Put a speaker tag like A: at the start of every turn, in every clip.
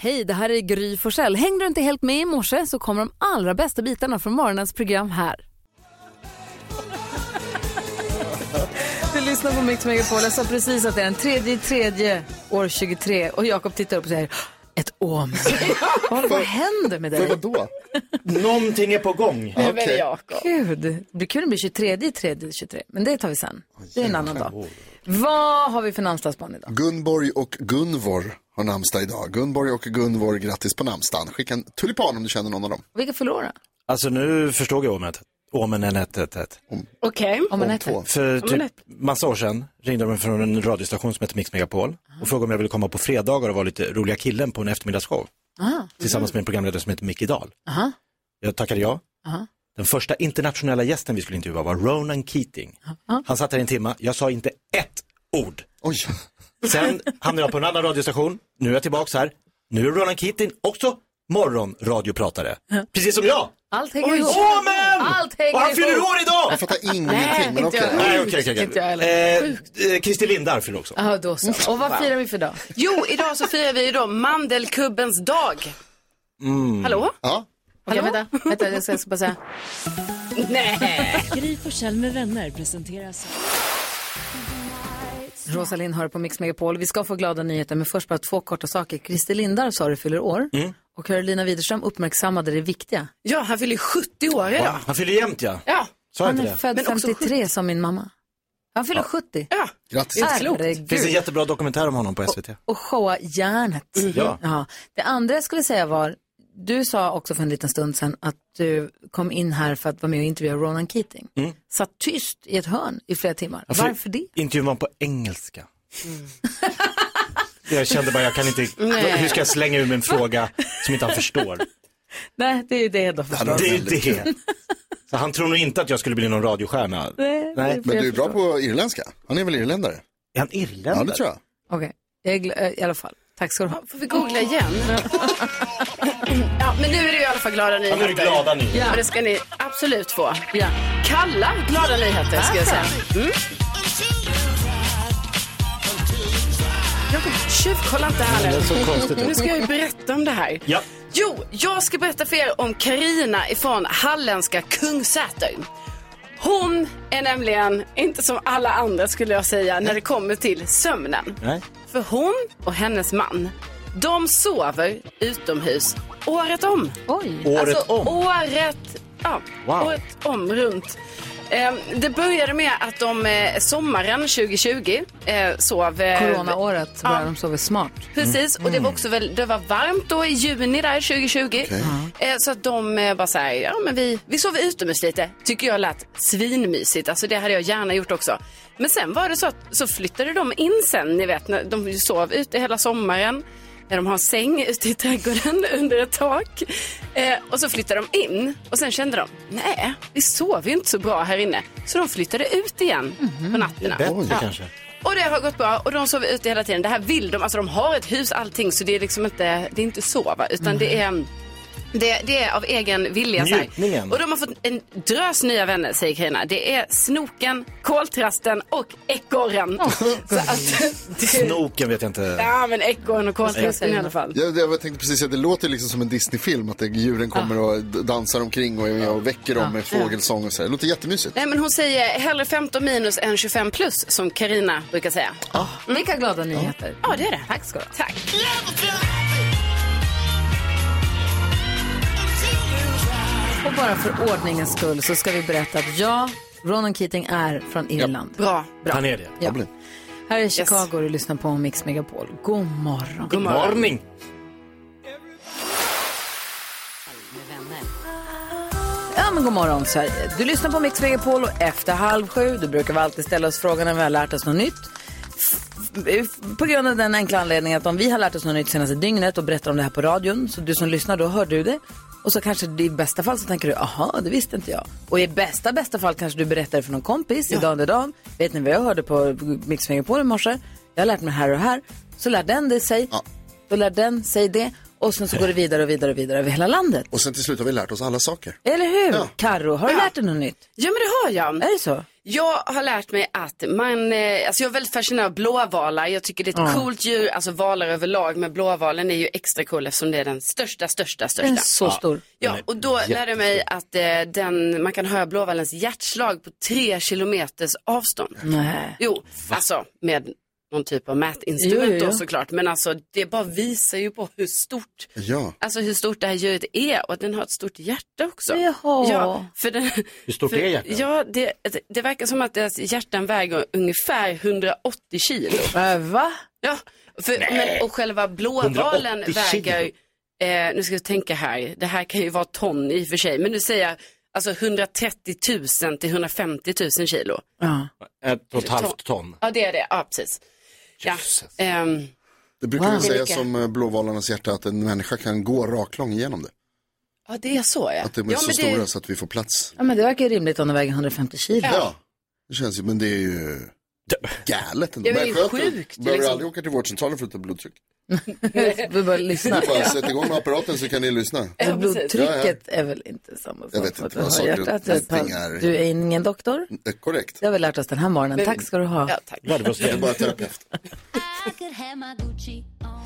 A: Hej, det här är Gry Forssell. Hängde du inte helt med i morse så kommer de allra bästa bitarna från morgonens program här. Du lyssnar på Mix Megapol. Jag sa precis att det är den tredje i tredje år 23 och Jakob tittar upp och säger ett om. vad, vad händer med dig?
B: Vadå?
C: Någonting är på gång.
B: Okej.
A: Gud, det blir kul om det blir 23 i tredje 23, men det tar vi sen. Det är en annan dag. Vad har vi för namnsdagsbarn idag?
B: Gunborg och Gunvor har namnsdag idag. Gunborg och Gunvor, grattis på namnsdagen. Skicka en tulipan om du känner någon av dem.
A: Vilka förlorar?
C: Alltså nu förstod jag omet. Åmen är ett, ett, ett.
D: Okej.
A: Om man
B: Om
A: äter.
B: två.
C: För
D: Åmen
C: typ massa år sedan ringde de från en radiostation som heter Mix Megapol och frågade om jag ville komma på fredagar och vara lite roliga killen på en eftermiddagsshow.
A: Aha.
C: Tillsammans med en programledare som heter Micke Dahl.
A: Aha.
C: Jag tackade ja.
A: Aha.
C: Den första internationella gästen vi skulle intervjua var Ronan Keating. Han satt här i en timme, jag sa inte ett ord.
B: Oj,
C: Sen hamnade jag på en annan radiostation, nu är jag tillbaks här. Nu är Ronan Keating också morgonradiopratare. Precis som jag!
A: Allt hänger ihop.
C: Åmen!
A: Allt hänger
C: Och han fyller
A: ihop.
C: år idag!
B: jag fattar ingenting. men
A: inte
B: okej.
A: jag.
C: Nej, okej, okej.
A: Inte jag heller.
C: okay. eh, Kristi Lindar fyller också.
A: Ja, då så. Och vad firar vi för dag?
D: Jo, idag så firar vi ju då mandelkubbens dag. Hallå?
B: Mm. Ja,
A: Okej, vänta, vänta, jag ska jag ska bara säga.
E: Gry Forssell med vänner presenteras
A: Rosalind hör på Mix Megapol. Vi ska få glada nyheter, men först bara två korta saker. Christer Lindar sa du fyller år
C: Mm.
A: och Carolina Widerström uppmärksammade det viktiga.
D: Ja, han fyller ju 70 år idag.
C: Han fyller jämt ja.
D: Ja,
C: Sa jag
A: Han
C: inte
A: är
C: det?
A: född
D: Men också
A: 53 som min mamma. Han fyller 70.
D: ja.
B: grattis.
C: Det finns en
A: Herregud.
C: jättebra dokumentär om honom på SVT.
A: Och showa järnet.
C: Ja.
A: Ja. Det andra jag skulle säga var, du sa också för en liten stund sedan att du kom in här för att vara med och intervjua Ronan Keating.
C: Mm.
A: Satt tyst i ett hörn i flera timmar.
C: för-
A: Varför det?
C: Intervjun var på engelska. Jag kände bara, jag kan inte, hur ska jag slänga ur mig en fråga som inte han förstår?
A: Nej, det är ju det då.
B: hade varit
C: Det är ju
B: väldigt
C: det. Så han tror nog inte att jag skulle bli någon radiostjärna.
A: Nej, det är
C: Nej.
A: för-
B: Men du är bra på irländska. Han är väl irländare?
C: Är han
B: Ja,
C: irländare?
B: det tror jag.
A: Okej, jag är gl- eh, i alla fall. Tack ska du ha.
D: Får vi googla igen? ja, men nu är det ju i alla fall glada
C: Ja,
D: nyheter.
C: nu är vi glada nu.
D: Ja. Och det ska ni absolut få.
A: Ja.
D: Kalla glada nyheter ska jag säga. Mm. Jakob, tjuvkolla inte här nu. Nu ska jag ju berätta om det här.
C: Ja.
D: Jo, jag ska berätta för er om Karina ifrån halländska Kungsäter. Hon är nämligen inte som alla andra skulle jag säga när det kommer till sömnen.
C: Nej.
D: För hon och hennes man, de sover utomhus året om.
A: Oj.
C: Året
D: alltså,
C: om.
D: Året, ja,
C: Wow.
D: året om runt. Eh, det började med att de eh, sommaren 2020 eh, sov... eh,
A: Coronaåret börjar de sova smart.
D: Precis, och det var också väl, det var varmt då i juni där 2020. Eh, så att de eh, bara så här, ja men vi, vi sover utomhus lite. Tycker jag lät svinmysigt, alltså det hade jag gärna gjort också. Men sen var det så att så flyttade de in sen, ni vet, när de sov ute hela sommaren. När de har en säng ute i trädgården under ett tak. Eh, och så flyttade de in och sen kände de, nej, vi sover ju inte så bra här inne. Så de flyttade ut igen på natterna.
C: Bättre
D: Ja.
C: kanske.
D: Och det har gått bra och de sover ute hela tiden. Det här vill de, alltså de har ett hus allting så det är liksom inte, det är inte sova utan det är det, det är av egen vilja. så här.
C: Njutningen.
D: Och de har fått en drös nya vänner, säger Carina. Det är snoken, koltrasten och ekorren. Så att, det,
C: Snoken vet jag inte.
D: ja, men ekorren och koltrasten i alla fall.
B: Jag, jag tänkte precis att det låter liksom som en Disney-film. Att det, djuren kommer
D: Ah.
B: och d- dansar omkring och är med och väcker dem med fågelsång och så. här. Det låter jättemysigt.
D: Nej, men hon säger hellre 15 minus än 25 plus, som Carina brukar säga. Mm.
A: Vilka glada nyheter.
D: Ja, det är det.
A: Tack ska du ha.
D: Tack.
A: Och bara för ordningens skull så ska vi berätta att jag, Ronan Keating, är från Irland.
D: Bra.
C: Han är det.
A: Ja. Här är Chicago och du lyssnar på Mix Megapol. God morgon.
D: God morgon.
C: Varning.
A: Ja, men god morgon Sverige. Du lyssnar på Mix Megapol och efter halv sju, då brukar vi alltid ställa oss frågan om vi har lärt oss något nytt. F- På grund av den enkla anledningen att om vi har lärt oss något nytt senaste dygnet och berättar om det här på radion, så du som lyssnar, då hör du det. Och så kanske du i bästa fall så tänker du, aha, det visste inte jag. Och i bästa, bästa fall kanske du berättar det för någon kompis idag under dagen. Vet ni vad jag hörde på Mix Megapol i morse? Jag har lärt mig det här och det här. Så lär den det sig.
B: Ja.
A: Då lär den sig det. Och sen så går det vidare och vidare och vidare över hela landet.
B: Och sen till slut har vi lärt oss alla saker.
A: Eller hur?
B: Ja.
A: Karo, har du lärt dig något nytt?
D: Ja, men det har jag.
A: Är det så?
D: Jag har lärt mig att man, eh, alltså jag är väldigt fascinerad av blåvalar. Jag tycker det är ett coolt djur, alltså valar överlag. Men blåvalen är ju extra cool eftersom det är den största, största,
A: Den är
D: största.
A: så stor.
D: Ja, och då lärde jag mig att eh, den, man kan höra blåvalens hjärtslag på tre kilometers avstånd.
A: Nej.
D: Jo, alltså med någon typ av mätinstrument
A: Jo, jo, jo.
D: då såklart. Men alltså det bara visar ju på hur stort,
B: Ja.
D: alltså hur stort det här djuret är och att den har ett stort hjärta också.
A: Jaha.
D: Ja, för den,
C: Hur stort
D: för,
C: är hjärtat?
D: Ja, det, alltså, det verkar som att deras hjärtan väger ungefär 180 kilo.
A: Äh, va?
D: Ja, för, men, och själva blåvalen
C: 180 kilo.
D: väger, eh, nu ska jag tänka här, det här kan ju vara ton i och för sig, men nu säger jag alltså 130 000 till 150 000 kilo.
A: Ja.
C: Ett och ett halvt ton.
D: Ja, det är det, ja precis. Ja. ehm,
B: Det brukar
A: Wow.
B: väl säga
D: Vilka?
B: som eh, blåvalarnas hjärta att en människa kan gå raklång igenom det.
D: ja, det är så ja.
B: Att de är
D: ja,
B: så
D: men det-
B: stora så att vi får plats.
A: ja, men det verkar ju rimligt om den väger 150 kilo.
B: Ja. det känns ju, men det är ju galet ändå.
D: Ja, men det är
B: Människor
D: sjukt,
B: Behöver
D: liksom.
B: aldrig åka till vårdcentralen för att ta blodtryck.
A: Vi bara lyssnar.
B: Bara sätt igång med apparaten så kan ni lyssna.
A: Så blodtrycket
B: Ja,
A: är väl inte samma
B: Jag
A: sak
B: vet
A: som
B: inte
A: att du
B: vad
A: har
B: saker och
A: hjärtat.
B: ting är.
A: typ. Du är ingen doktor.
B: Eh, Korrekt.
A: Det har vi lärt oss den här morgonen. Tack ska du ha.
D: Ja, tack.
C: Lärde vi oss
B: Det är
C: det?
B: bara terapeut.
F: I could have my Gucci on.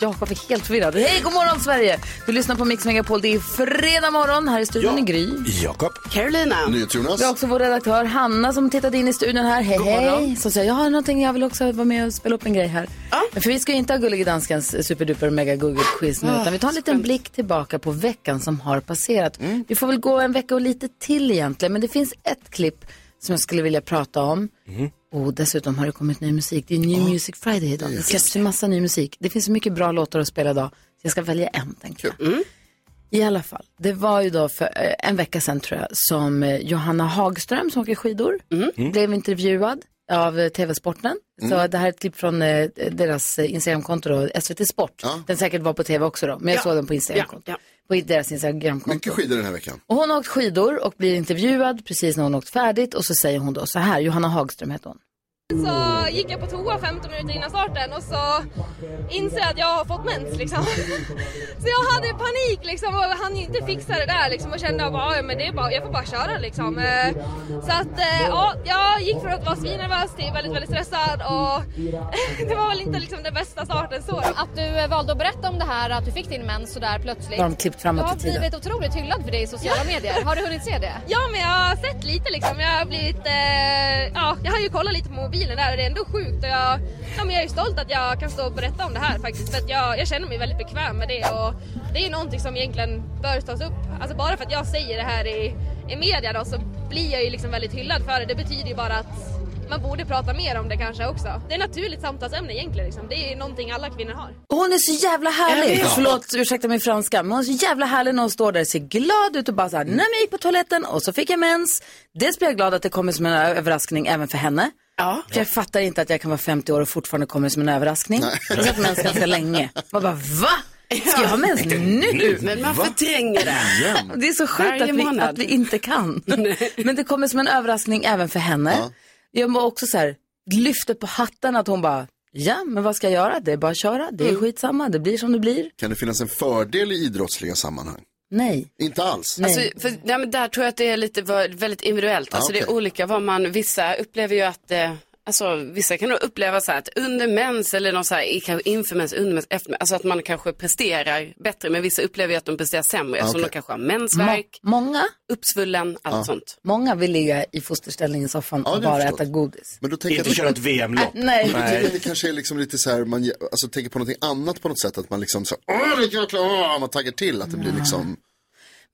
A: Jakob är helt förvirrad. Hej, god morgon Sverige! Du lyssnar på Mix Megapol. Det är fredag morgon. Här i studion
C: Ja.
A: i Gry.
C: Jakob.
D: Carolina.
B: NyhetsJonas.
A: Vi har också vår redaktör Hanna som tittade in i studion här. Hej, hej! Som säger, jag har någonting, jag vill också vara med och spela upp en grej här. För vi ska ju inte ha Gullige Danskens superduper mega google quiz nu, utan vi tar en liten blick tillbaka på veckan som har passerat. Vi får väl gå en vecka och lite till egentligen, men det finns ett klipp som jag skulle vilja prata om. Och dessutom har det kommit ny musik. Det är New Music Friday idag. Det släpps en massa ny musik. Det finns så mycket bra låtar att spela idag. Så jag ska välja en, tänkte jag. I alla fall, det var ju då för eh, en vecka sedan tror jag som eh, Johanna Hagström som åker skidor
D: Mm.
A: blev intervjuad av eh, TV-sporten. Så det här är ett klipp från eh, deras eh, Instagramkonto då, SVT Sport. Den säkert var på TV också då, men jag
D: Ja.
A: såg den på Instagramkonto.
D: Ja,
A: På deras Instagramkonto.
B: Mycket skidor den här veckan.
A: Och hon har åkt skidor och blir intervjuad precis när hon åkt färdigt och så säger hon då så här, Johanna Hagström heter hon.
G: så gick jag på toa 15 minuter innan starten och så inser jag att jag har fått mens liksom. Så jag hade panik liksom och han inte fixa det där liksom och kände att bara, "Ja, men det är bara, jag får bara köra liksom. Eh, Så att eh, ja, jag gick från att vara svinnervös till väldigt, väldigt stressad och det var väl inte liksom den bästa starten så.
H: Att du eh, valde att berätta om det här, att du fick din mens sådär plötsligt.
A: Då har de klippt
H: Du
A: framåt
H: har
A: i tiden.
H: blivit otroligt hyllad för det i sociala medier. Har du hunnit se det?
G: Ja, men jag har sett lite liksom. Jag har blivit, eh, ja, jag har ju kollat lite på mobilen där och det är ändå sjukt och jag, ja, men jag är ju stolt att jag kan stå och berätta om det här faktiskt för att jag, jag känner mig väldigt bekväm med det och det är ju någonting som egentligen bör tas upp. Alltså bara för att jag säger det här i, i media då så blir jag ju liksom väldigt hyllad för det. Det betyder ju bara att man borde prata mer om det kanske också. Det är ett naturligt samtalsämne egentligen liksom. Det är ju någonting alla kvinnor har.
A: Och Hon är så jävla härlig. Förlåt, ursäkta min franska. Men hon är så jävla härlig när hon står där, ser glad ut och bara så
D: Mm.
A: här, nej men jag gick på toaletten och så fick jag mens. Dels blir jag glad att det kommer som en ö- överraskning även för henne.
D: Ja.
A: För jag fattar inte att jag kan vara 50 år och fortfarande kommer som en överraskning. Jag har haft mens ganska länge. Man bara, va? Ska jag ha mens nu?
D: Men man förtränger det.
B: Igen.
A: Det är så sjukt
D: Varje
A: att vi,
D: månad.
A: att vi inte kan. Men det kommer som en överraskning även för henne. Jag var också så här, lyfte på hatten att hon bara, ja men vad ska jag göra? Det är bara att köra, det är
D: Mm.
A: skitsamma, det blir som det blir.
B: Kan det finnas en fördel i idrottsliga sammanhang?
A: Nej.
B: Inte alls.
A: Nej.
D: Alltså, för, nej, men där tror jag att det är lite vad- väldigt individuellt. Alltså, Det är
B: okej.
D: olika vad man, vissa upplever ju att, eh, alltså, vissa kan nog uppleva så här att under mens eller någon så här, i- kanske inför mens, under mens, efter mens, alltså att man kanske presterar bättre. Men vissa upplever ju att de presterar sämre eftersom
B: okej.
D: de kanske har mensvärk,
A: Många,
D: uppsvullen, allt sånt.
A: många vill ligga i fosterställning i soffan
B: Ja,
A: och
B: det har
A: bara
B: jag
A: äta
B: förstått.
A: godis.
B: Alltså, Men då tänker jag
C: Inte
B: att-
C: köra ett VM-lopp.
A: Nej.
B: Men det, det kanske är liksom lite så här, man ge- alltså, tänker på någonting annat på något sätt. Att man liksom så här, åh, det är jäkla, åh", man taggar till. Att det blir liksom,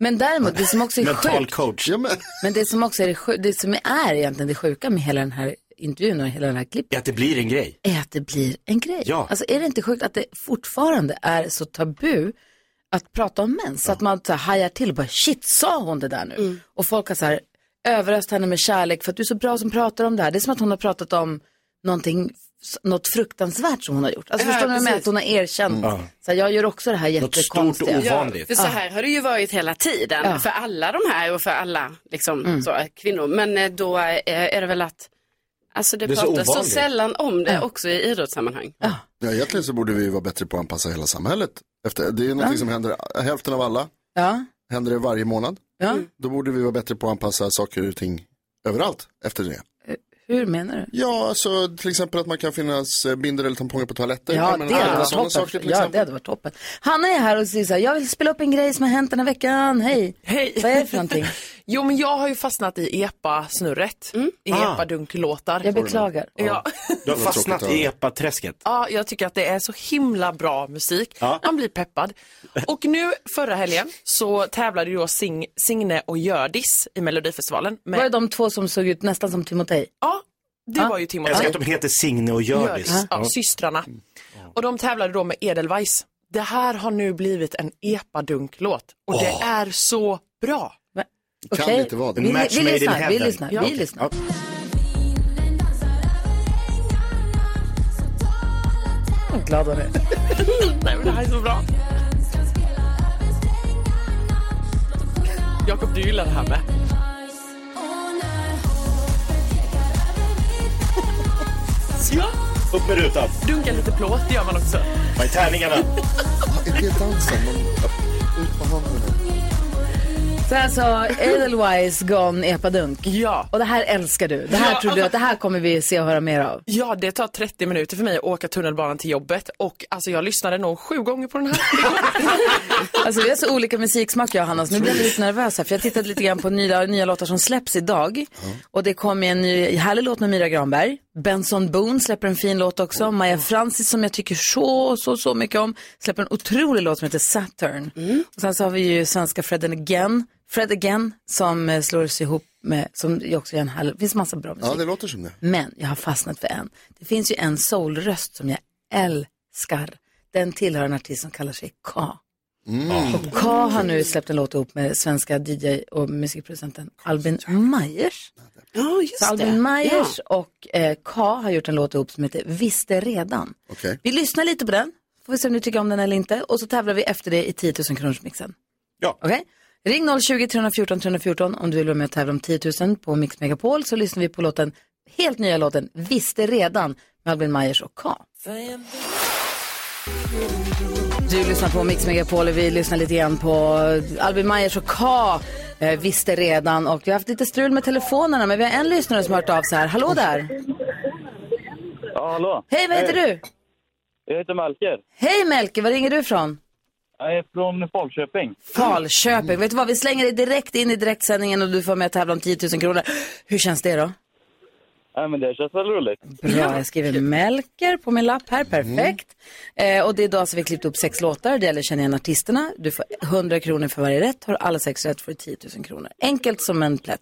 A: Men däremot, det som också är
C: Mental
A: sjukt,
C: coach.
B: ja men,
A: men det som också är, det sju- det som är egentligen det sjuka med hela den här intervjun och hela den här klippet,
C: Att det blir en grej.
A: är att det blir en grej.
C: Ja.
A: Alltså är det inte sjukt att det fortfarande är så tabu att prata om mens? Så att man så här, hajar till och bara shit, sa hon det där nu?
D: Mm.
A: Och folk har så här överöst henne med kärlek för att du är så bra som pratar om det här. Det är som att hon har pratat om någonting, s- något fruktansvärt som hon har gjort. Alltså
D: Ja,
A: förstår ni vad jag menar?
D: precis.
A: Att hon har erkänt. Så här, jag gör också det Ah. här
C: Mm. Något stort och
A: jättekonstiga.
C: ovanligt.
D: För så här har det ju varit hela tiden för
A: Mm.
D: alla de här och för alla liksom, så, kvinnor. Men eh, då eh, är eh, det väl att Alltså det,
C: Det är så
D: pratas så,
C: ovanligt.
D: sällan om det också i idrottssammanhang.
B: Ja, egentligen så borde vi ju vara bättre på att anpassa hela samhället. Efter, det är något som händer, hälften av alla
A: Ja.
B: händer det varje månad.
A: Ja.
B: Då borde vi vara bättre på att anpassa saker och ting överallt efter det.
A: Eh. Ah, Hur menar du?
B: Ja, alltså till exempel att man kan finnas eh, binder eller tamponger på toaletter.
A: Ja,
B: men
A: det hade
B: alla
A: varit
B: sådana
A: toppen.
B: saker till
A: ja, det
B: exempel.
A: hade varit toppen. Hanna är här och säger så här, jag vill spela upp en grej som har hänt den här veckan. Hej!
I: Hej.
A: Vad är det för någonting?
I: Jo, men jag har ju fastnat i epa-snurret. I
C: Ah.
I: epa-dunklåtar.
A: Mm. Jag beklagar.
I: Ja.
C: Du har
B: Det var
C: fastnat
B: tråkigt att
C: i
B: höra.
C: epaträsket.
I: ja, jag tycker att det är så himla bra musik.
C: Ja.
I: Man blir peppad. Och nu förra helgen så tävlade ju då Sing, Signe och Hjördis i Melodifestivalen.
A: Var det
I: Med,
A: de två som såg ut nästan som Timotej?
I: ja, det var ju
C: Jag älskar
I: Timothy.
C: att de heter Signe och Hjördis.
I: Hjördis, ja, systrarna.
C: Mm.
I: Och de tävlade då med Edelweiss. Det här har nu blivit en epadunklåt och det är så bra.
B: Kan
A: Okej.
B: inte vara det.
A: Vi,
C: Match
A: vi,
C: made in
A: lyssnar, vi
C: heaven.
A: lyssnar,
I: Ja.
A: vi lyssnar.
C: Ja.
A: Vad Mm, glad hon är.
I: Nej, men det här är så bra. Jakob, du gillar det här med. Ja,
C: Upp med rutan.
I: dunka lite plåt, det gör man också.
C: Vad är tärningarna?
B: Ja, är det dansen? Man, ut med handen.
A: Så här sa Edelweiss Gone Epadunk.
I: Ja.
A: Och det här älskar du. Det här
I: Ja,
A: tror du att det här kommer vi se och höra mer av.
I: ja, det tar 30 minuter för mig att åka tunnelbanan till jobbet och alltså jag lyssnade nog sju gånger på den här.
A: Alltså vi har så olika musiksmak jag och Hannas. Nu blir jag lite nervös här för jag tittade lite grann på nya, nya låtar som släpps idag. Och det kom en ny härlig låt med Myra Granberg. Benson Boone släpper en fin låt också. Maja Francis som jag tycker så, så, så mycket om. Släpper en otrolig låt som heter Saturn.
B: Mm.
A: Och sen så har vi ju svenska Fred and Again. Fred Again som eh, slår sig ihop med, som ju också är en härlig, det finns massa bra musik.
B: Ja, det låter som det.
A: Men jag har fastnat för en. Det finns ju en soulröst som jag älskar. Den tillhör en artist som kallar sig K. Och K har nu släppt en låt ihop med svenska DJ och musikproducenten Albin Majers.
D: Ja,
A: Så
D: just
A: Albin Majers och eh, K har gjort en låt ihop som heter Visste redan.
B: Okej.
A: Vi lyssnar lite på den, får vi se om ni tycker om den eller inte. Och så tävlar vi efter det i 10 000 kronorsmixen.
C: Ja.
A: Okej? Ring 020 314 314 om du vill vara med och tävla om 10 000 på Mix Megapol så lyssnar vi på låten, helt nya låten Visste redan med Albin Majers och K. Du lyssnar på Mix Megapol och vi lyssnar lite grann på eh, Albin Majers och K. Eh, visste redan och vi har haft lite strul med telefonerna men vi har en lyssnare som har hört av sig här. Hallå där!
J: Ja, hallå.
A: Hej, vad heter du?
J: Jag heter Melker.
A: Hej Melke, var ringer du ifrån?
J: Jag är från Falköping.
A: Falköping. Vet du vad, vi slänger dig direkt in i direktsändningen och du får med att tävla om 10 000 kronor. Hur känns det då?
J: Ja, men det känns väl roligt? Mm.
A: Bra, jag skriver Melker på min lapp här, perfekt. Eh, och det är då alltså vi har klippt upp sex låtar, det gäller att känna igen artisterna. Du får 100 kronor för varje rätt, har du alla sex rätt får du 10 000 kronor. Enkelt som en plätt.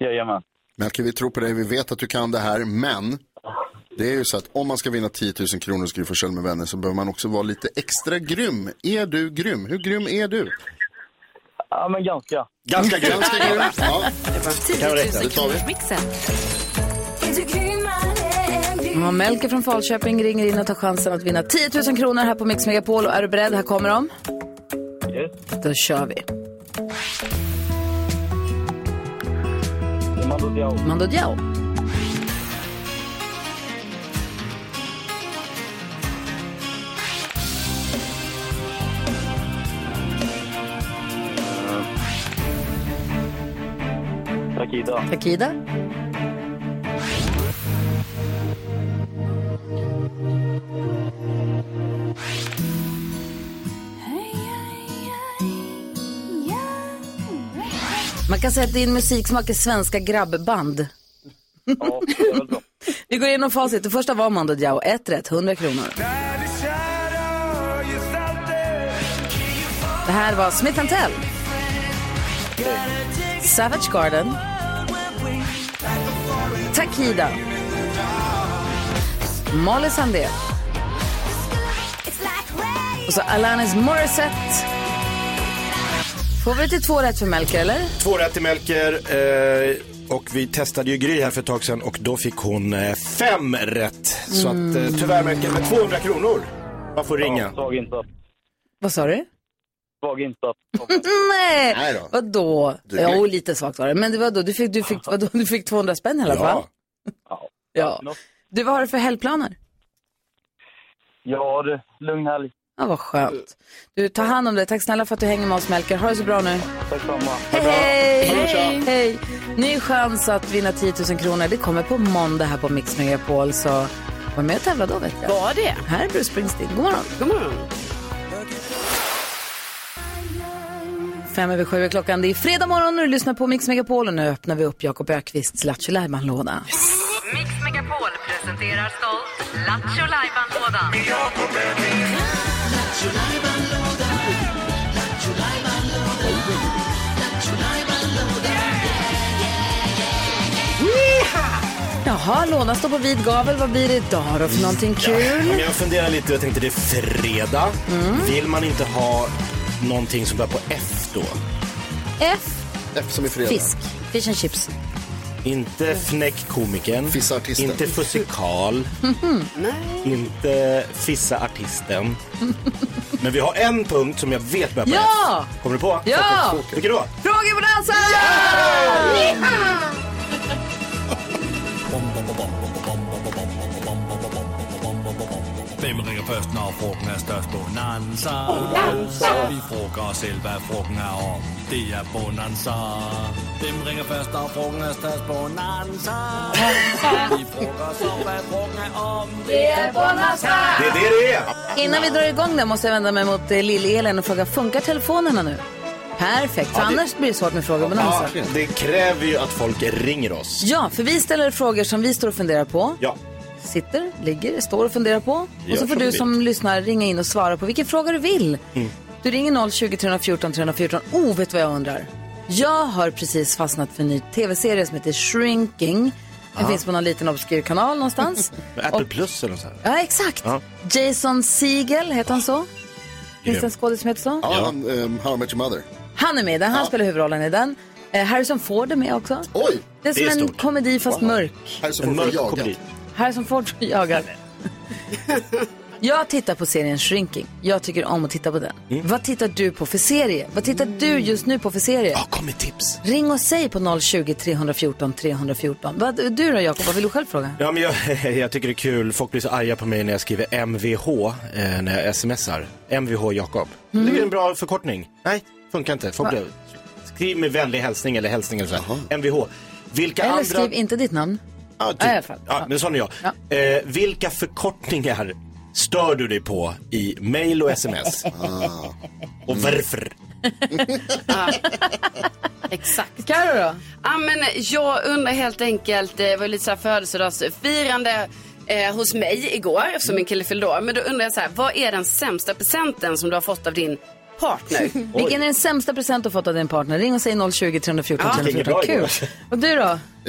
J: Jajamän.
B: Melker, vi tror på dig. Vi vet att du kan det här, men det är ju så att om man ska vinna 10 000 kronor ska du få köra med vänner så behöver man också vara lite extra grym. Är du grym? Hur grym är du?
J: Ja, men ganska.
C: Ganska grym.
B: Ganska grym. Ja,
C: 10 000
B: det tar vi.
A: Ja, Melker från Falköping ringer in och tar chansen att vinna 10 000 kronor här på Mix Megapol. Och är du beredd? Här kommer de.
J: Yes.
A: Då kör vi.
J: Mando Diao.
A: Mando Diao.
J: Takida.
A: Akida. Man kan säga att din musiksmak är svenska grabbband.
J: Ja, det är väl så.
A: Vi går igenom facit. Det första var Mando Diao. Ett rätt, 100 kronor. Det här var Smith Tell. Savage Garden. Takida. Molly Sandén. Och så Alanis Morissette. Får vi till två rätt för Melker, eller?
C: Två rätt till Melker. Eh, och vi testade ju Gry här för ett tag sedan och då fick hon eh, fem rätt. Så att eh, tyvärr Melker, med 200 kronor. Man får ringa.
J: Ja, Svag insats.
A: Vad sa du?
J: Svag insats.
A: Nej,
B: Nej då.
A: vadå?
B: Du
A: Ja,
B: fick-
A: och lite svagt var det. Men det var då, du fick, du fick, vadå, du fick 200 spänn i alla fall.
C: Ja,
A: Ja. Du, vad har du för helgplaner?
J: Ja du, lugn helg.
A: Ja, vad skönt. Du, ta hand om dig. Tack snälla för att du hänger med oss, Melker. Ha det så bra nu.
J: Tack samma.
A: Hej, hej! Hej! Ny chans att vinna 10 000 kronor. Det kommer på måndag här på Mix Megapol. Så var med och tävla då, vet jag.
D: Var det?
A: Här är Bruce Springsteen. God morgon.
D: God morgon.
A: Fem över sju är klockan. Det är fredag morgon och du lyssnar på Mix Megapol. Och nu öppnar vi upp Jakob Ökvists Lattjo låda
K: Mix Megapol presenterar stolt Lattjo Lajban-lådan.
A: Jaha, lådan står på vid gavel. Vad blir det idag då för någonting kul?
C: Men jag funderar lite, jag tänkte det är fredag. Vill man inte ha någonting som börjar på F då?
A: F.
C: F som i
A: Fisk. Fish and chips.
C: Inte fnäckkomikern. Fissartisten. Inte fussikal. inte fissaartisten. Men vi har en punkt som jag vet börjar på
A: Ja!
C: F. Kommer du på?
A: Ja!
C: Vilken då?
A: Frågebonanza!
L: Hvem ringer først, når frugten er størst? Bonanza.
M: Bonanza.
L: Vi frugger os selv, hvad frugten er om. Det er Bonanza. Hvem ringer først, når frugten er størst? Bonanza. Vi frugger os selv, hvad frugten er om.
A: Det er Bonanza.
C: Det är det det är.
A: Innan vi drar igång det måste jag vända mig mot eh, Lill-Elin och fråga, funkar telefonerna nu? Perfekt, för
C: Ja, det-
A: annars blir det svårt med
C: Ja,
A: frågebonanza.
C: det kräver ju att folk ringer oss.
A: alltså. Ja, för vi ställer frågor som vi står och funderar på.
C: Ja.
A: Sitter, ligger, står och funderar på.
C: Gör
A: Och så får
C: som
A: du
C: du
A: som lyssnar ringa in och svara på vilken fråga du vill.
B: Mm.
A: Du ringer 020 314 314. Oh, vet du vad jag undrar? Jag har precis fastnat för en ny tv-serie som heter Shrinking. Den
C: Ah.
A: finns på någon liten obskyr kanal någonstans.
C: Med Apple Plus eller något sånt.
A: Ja, exakt.
C: Ja.
A: Jason Segel, heter han så? Finns det en skådis som heter så?
B: Ja, han, um, How I Met Your Mother.
A: Han är med i den, han spelar huvudrollen i den. Eh, Harrison Ford är med också.
B: Oj!
A: Det är som
B: det är
A: en
B: stort.
A: komedi fast
B: Wow.
A: mörk.
B: Harrison Ford får jaga.
A: Harrison Ford som jagar. Jag tittar på serien Shrinking. Jag tycker om att titta på den. Vad tittar du på för serie? Vad tittar du just nu på för serie? Ja,
C: kom med tips.
A: Ring och säg på 020 314 314. Vad, du då Jakob, vad vill du själv fråga?
C: Ja, men jag, jag tycker det är kul. Folk blir så arga på mig när jag skriver MVH eh, när jag smsar. MVH Jakob.
A: Mm.
C: Det är en bra förkortning. Nej, funkar inte. Folk blir, skriv med vänlig hälsning eller hälsning eller så här. MVH. Vilka
A: Eller
C: andra...
A: skriv inte ditt namn.
C: Ja,
A: Ja, i alla
C: typ.
A: fall.
C: ja, men sån är jag. Eh, vilka förkortningar stör du dig på i mail och sms? Och varför?
D: Exakt.
A: Carro då?
D: Ja, men eh, jag undrar helt enkelt, eh, det var ju lite så här födelsedagsfirande eh, hos mig igår eftersom min kille fyllde år. Men då undrar jag så här, vad är den sämsta presenten som du har fått av din partner?
A: Vilken är den sämsta present du fått av din partner? Ring och säg 020 314
B: Ja.
A: 314.
B: Det är bra
A: Kul. Och du då?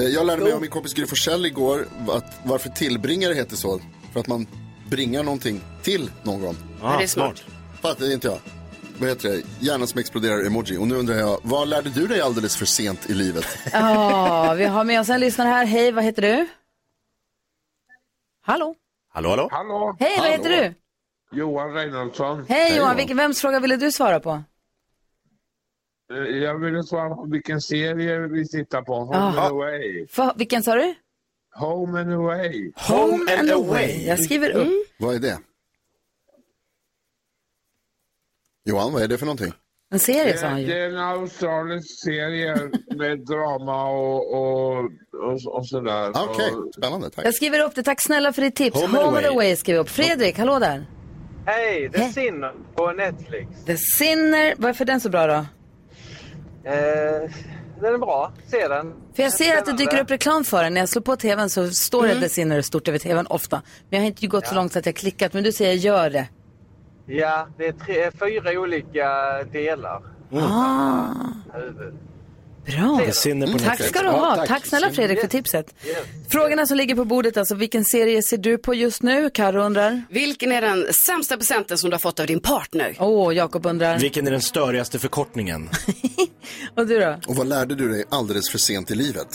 B: Eh, Jag lärde mig av min kompis Gry Forssell igår att varför tillbringare heter så. För att man bringar någonting till någon.
D: Ja, det är smart.
B: Fattar inte jag. Vad heter det? Hjärnan som exploderar emoji. Och nu undrar jag, vad lärde du dig alldeles för sent i livet?
A: Ja, vi har med oss en lyssnare här. Hej, vad heter du? Hallå?
C: Hallå, hallå?
N: Hallå?
A: Hej, vad heter du?
N: Johan Reinholdsson.
A: Hej Johan, vilken, vems fråga ville du svara på?
N: Eh, Jag ville svara på vilken serie vi tittar på. Home
A: Ah.
N: and away.
A: Fa- vilken sa du?
N: Home and away.
A: Home and away. Jag skriver upp. Mm.
B: Vad är det? Johan, vad är det för någonting?
A: En serie sa
N: det,
A: han ju.
N: det är en australisk serie med drama och, och, och, och sådär.
B: Okej,
N: spännande.
A: Jag skriver upp det. Tack snälla för ditt tips. Home,
N: Home and
A: and
N: Away.
A: away skriver jag upp. Fredrik, hallå där.
O: Hej, The Sinner på Netflix.
A: The Sinner. Varför är den så bra då?
O: Eh, den är bra, se den.
A: För jag ser att det dyker upp reklam för den. När jag slår på tvn så står det The Sinner stort över tvn ofta. Men jag har inte gått så långt så att jag klickat. Men du säger gör det.
O: Ja, det är tre, fyra olika delar.
A: Ah,
O: Huvud.
A: bra.
O: The Sinner på
A: Tack
O: Netflix.
A: ska du
O: Ja,
A: ha.
O: tack.
A: tack snälla Fredrik för
D: Yes.
A: tipset. Frågorna som ligger på bordet, alltså vilken serie ser du på just nu? Karo undrar.
D: Vilken är den sämsta presenten som du har fått av din partner?
A: Åh, Jakob undrar.
C: Vilken är den störigaste förkortningen?
A: Och du då?
B: Och vad lärde du dig alldeles för sent i livet?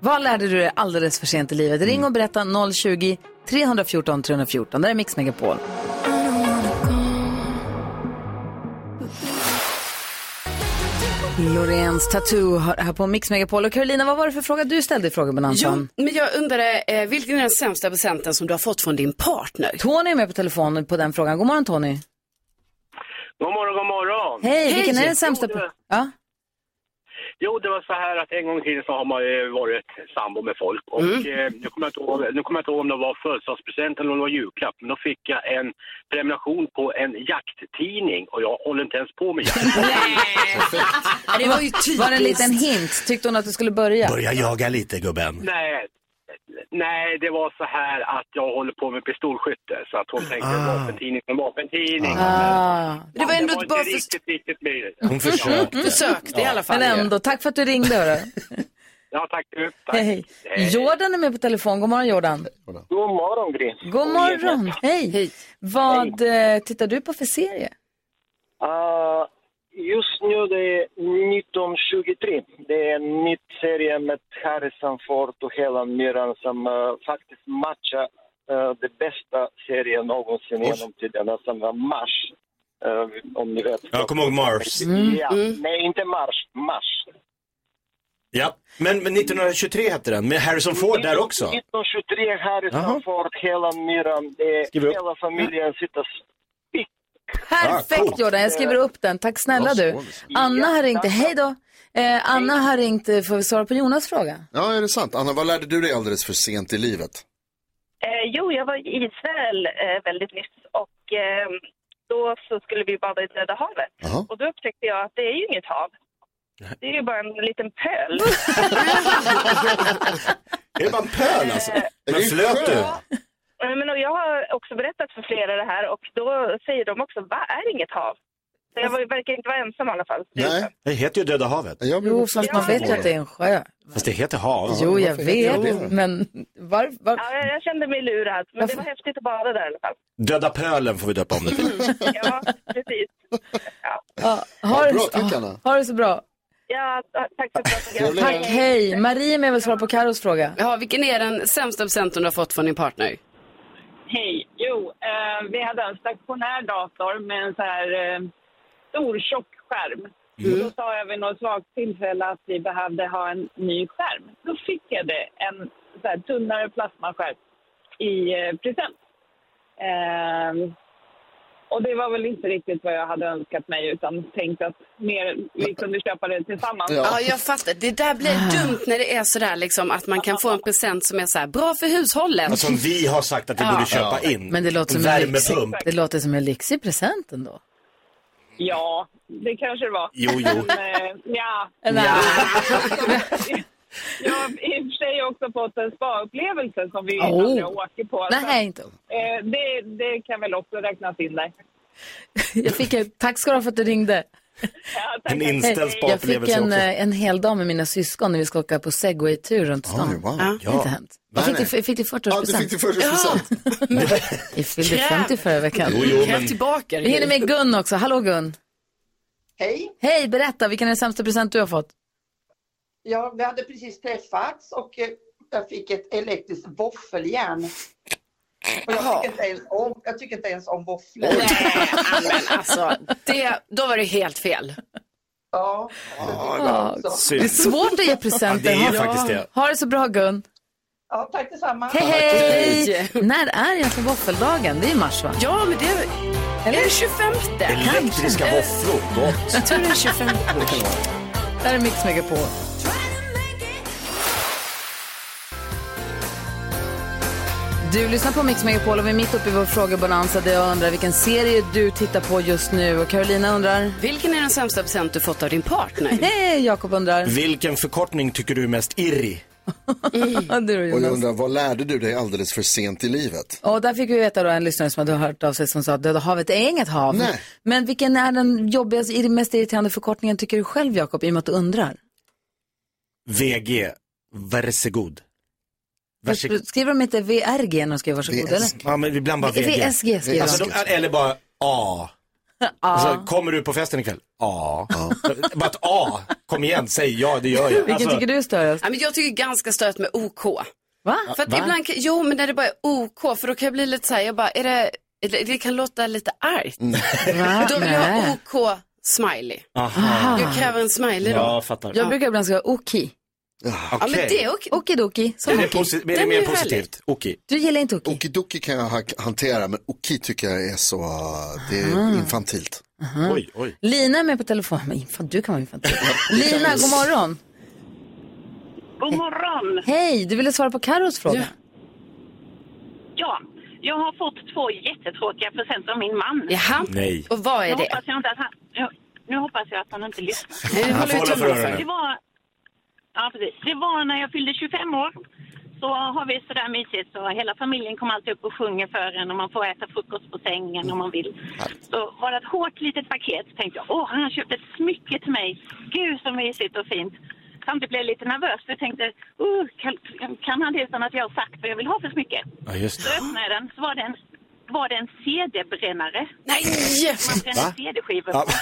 A: Vad lärde du dig alldeles för sent i livet? Ring och berätta 020 314 314. Där är Mix Megapol. Loreens Tattoo har- här på Mix Megapol. Och Carolina, vad var det för fråga du ställde i frågebonanzan?
D: Jo, men jag undrar, eh, vilken är den sämsta presenten som du har fått från din partner?
A: Tony är med på telefon på den frågan. God morgon Tony.
M: God morgon, god morgon.
A: Hej, vilken är den sämsta?
M: Jo det, var,
A: Ja.
M: jo, det var så här att en gång i tiden så har man ju varit sambo med folk. Och
D: Mm.
M: eh, nu kommer jag inte ihåg- nu kommer jag inte ihåg om det var födelsedagspresent eller om det var julklapp. Men då fick jag en prenumeration på en jakttidning och jag håller inte ens på med jakt.
D: det var ju
A: Var det en
D: typiskt.
A: liten hint? Tyckte hon att du skulle börja?
C: Börja jaga lite gubben.
M: nej, nej, det var så här att jag håller på med pistolskytte. Så att hon tänkte
C: Ah.
M: vapentidning som vapentidning.
D: Ah.
A: Ah.
D: Det var ändå
M: inte
D: bara för... Mm,
M: riktigt, riktigt med.
C: Hon försökte.
D: Försökte i alla fall.
A: Men ändå, tack för att du ringde. Hörru.
M: Ja, tack du. Tack.
A: Hej, hej. Jordan är med på telefon. God morgon Jordan.
M: God morgon, Gris.
A: God morgon, hej. Vad eh, tittar du på för serie?
P: Ah, just nu det är 1923. Det är en ny serie med Harrison Ford och Helen Mirren som eh, faktiskt matchar eh, det bästa serien någonsin genom tiderna som var Mars. Eh, om ni vet.
C: Jag kommer ihåg Mars.
P: Ja,
A: Mm.
P: nej, inte Mars. Mars.
C: Ja, men, men 1923 hette den, med Harrison Ford där också.
P: 1923, Harrison
C: Jaha.
P: Ford, Helen Mirren. Det är
C: Skriver upp.
P: hela familjen sitter
A: Perfekt
P: coolt.
A: Jordan, jag skriver upp den. Tack snälla du. Anna har ringt, hej då. Eh, Anna har ringt eh, för att svara på Jonas fråga.
B: Ja, är det sant? Anna, vad lärde du dig alldeles för sent i livet?
Q: Eh, jo, jag var i Israel eh, väldigt nyss och eh, då så skulle vi bada i Döda havet. Och då upptäckte jag att det är ju inget hav. Det är ju bara en liten pöl.
C: Är det bara en pöl alltså?
B: Eh,
C: Men flöt du?
Q: Eh, Men och jag har också berättat för flera det här och då säger de också, va, är det inget hav? Så jag var, verkar inte vara ensam i alla fall.
C: Nej. Det heter ju Döda havet.
A: Jo, fast man vet ju att det är en sjö.
C: Fast det heter hav.
A: Jo, jag vet, men var, var...
Q: Ja, jag- jag kände mig lurad, men det var häftigt att bada där i alla fall.
C: Döda pölen får vi döpa om det
A: Mm.
C: till.
Q: Ja, precis.
A: Ja, ha,
C: Ja,
A: det
C: bra,
A: så,
C: tack,
A: ha,
C: Anna.
A: ha det så bra.
Q: Ja, ta- tack för att du frågade.
A: Tack, hej. Marie är med och svarar på Karos fråga.
D: Ja, vilken är den sämsta presenten du har fått från din partner?
R: Hej. Jo, eh, vi hade en stationär dator med en så här eh, stor tjock skärm.
S: Mm.
R: Och Då sa jag vid något svagt tillfälle att vi behövde ha en ny skärm. Då fick jag det, en så här, tunnare plasmaskärm i eh, present. Eh, och det var väl inte riktigt vad jag hade önskat mig utan tänkte att mer, vi kunde köpa det tillsammans.
D: Ja. jag fattar. Det där blir
A: Ah.
D: dumt när det är sådär liksom att man kan få en present som är såhär bra för hushållet.
B: Alltså,
C: Men Som Alltså, vi har sagt att vi
D: Ja.
C: borde köpa
D: Ja.
C: in.
A: Men det låter som en lyxig,
C: Värmepump.
A: det låter som en lyxig present ändå.
R: Ja, det kanske det var.
C: Jo, jo.
R: Men, eh, ja.
A: Ja.
R: Jag har i och för sig också fått en spa-upplevelse som vi
A: Oh.
R: aldrig åker på.
A: Nej,
R: Så att,
A: inte.
R: eh, Det, det kan väl också räknas in där.
A: Jag fick en, tack ska du ha för att du ringde.
C: En
A: Hej.
C: inställd
A: Jag fick
C: spa-upplevelse
A: en,
C: också.
A: eh, en hel dag med mina syskon när vi ska åka på segway-tur runt stan. Ja. Det har inte hänt. Jag
C: Nej,
A: fick det, jag fick det i 40
B: Ja, du fick det i 40%.
A: Jag fyllde 50 förra veckan.
B: Jo, jo, Kräv men-
D: tillbaka
A: Vi hinner med Gun också. Hallå Gun.
T: Hej.
A: Hej, berätta. Vilken är den sämsta present du har fått?
T: Ja, vi hade precis träffats och eh, jag fick ett elektriskt våffeljärn. Och jag, tycker inte ens om, jag tycker inte ens om våfflor.
A: Ah,
D: Men alltså, det, då var det helt fel.
T: Ja.
A: Ja, det är svårt att ge presenter.
T: Ja, det är
A: Ha-
T: faktiskt det.
A: Ha det så bra Gun.
T: Ja, tack detsamma.
A: Hej, hej! När är egentligen våffeldagen? Det är i mars va?
D: Ja, men det är... Eller? Är det 25?
C: Elektriska
A: Kanske.
C: våfflor,
D: Jag
C: gott.
D: tror det är 25.
A: Där är Mix Megapol. Du lyssnar på Mix Megapol och vi är mitt uppe i vår frågebonanza där jag undrar vilken serie du tittar på just nu och Carolina undrar...
D: Vilken är den sämsta present du fått av din partner?
A: Hej, Jakob
C: Mm.
A: undrar.
C: Vilken förkortning tycker du är mest irrig?
A: du och
B: Och jag
A: Jonas.
B: undrar, vad lärde du dig alldeles för sent i livet?
A: Och där fick vi veta då en lyssnare som hade hört av sig som sa att Döda havet är inget hav. Men vilken är den jobbigaste, i- mest irriterande förkortningen tycker du själv Jakob i och med att du undrar?
C: VG, varsågod. Varsågod.
A: Skriver de inte VRG när de skriver varsågod eller?
C: Ja, men ibland bara VG.
A: VSG skriver
C: alltså,
A: de.
C: de, Eller bara A. Alltså, kommer du på festen ikväll? A. Bara ett A. Kom igen, säg ja, det gör jag.
D: Vilken
C: Alltså,
D: tycker
A: du är störst?
D: Ja, men jag tycker ganska stört med OK.
A: Va?
D: För att
C: Va?
D: ibland, kan- jo men när det bara är OK, för då kan jag bli lite så här, jag bara, är det, är det det kan låta lite argt. Då vill jag ha OK smiley.
A: Aha.
D: Jag kräver en smiley då.
C: Ja, jag fattar.
A: Jag brukar ibland säga oki.
B: Ah.
D: Ja, men det är okej.
A: Okidoki.
C: Är
A: Som
C: det,
A: oki.
C: posi- är det
A: Den
C: mer
A: ju
C: positivt? Okej.
A: Du gillar inte Oki?
B: Okidoki kan jag ha- hantera, men Oki tycker jag är så, uh, det är
A: Aha.
B: infantilt.
A: Aha. Oj,
C: oj.
A: Lina är med på telefon. Men fan, du kan vara infantil. Lina, god morgon.
S: God morgon!
A: Hej, du ville svara på Carros fråga.
S: Ja, jag har fått två jättetråkiga presenter av min man.
D: Jaha.
C: Nej.
D: Och vad
S: nu
D: är det?
S: Hoppas jag inte att han, nu, nu hoppas jag att han inte lyssnar.
C: Nej, det Han håller vi får hålla för tummarna för. öronen.
S: Det var, ja, precis. Det var när jag fyllde 25 år. Så har vi sådär mysigt så hela familjen kommer alltid upp och sjunger för en och man får äta frukost på sängen om man vill. Så var det ett hårt litet paket tänkte jag, åh han har köpt ett smycke till mig. Gud så mysigt och fint. Samtidigt blev jag lite nervös för jag tänkte, "Uh, kan, kan han det utan att jag har sagt vad jag vill ha för smycke?
C: Ja, just
S: Så öppnade jag den, så var det en, var det en CD-brännare.
D: Nej!
S: Man bränner
C: Va?
S: CD-skivor
C: Ja.
S: på.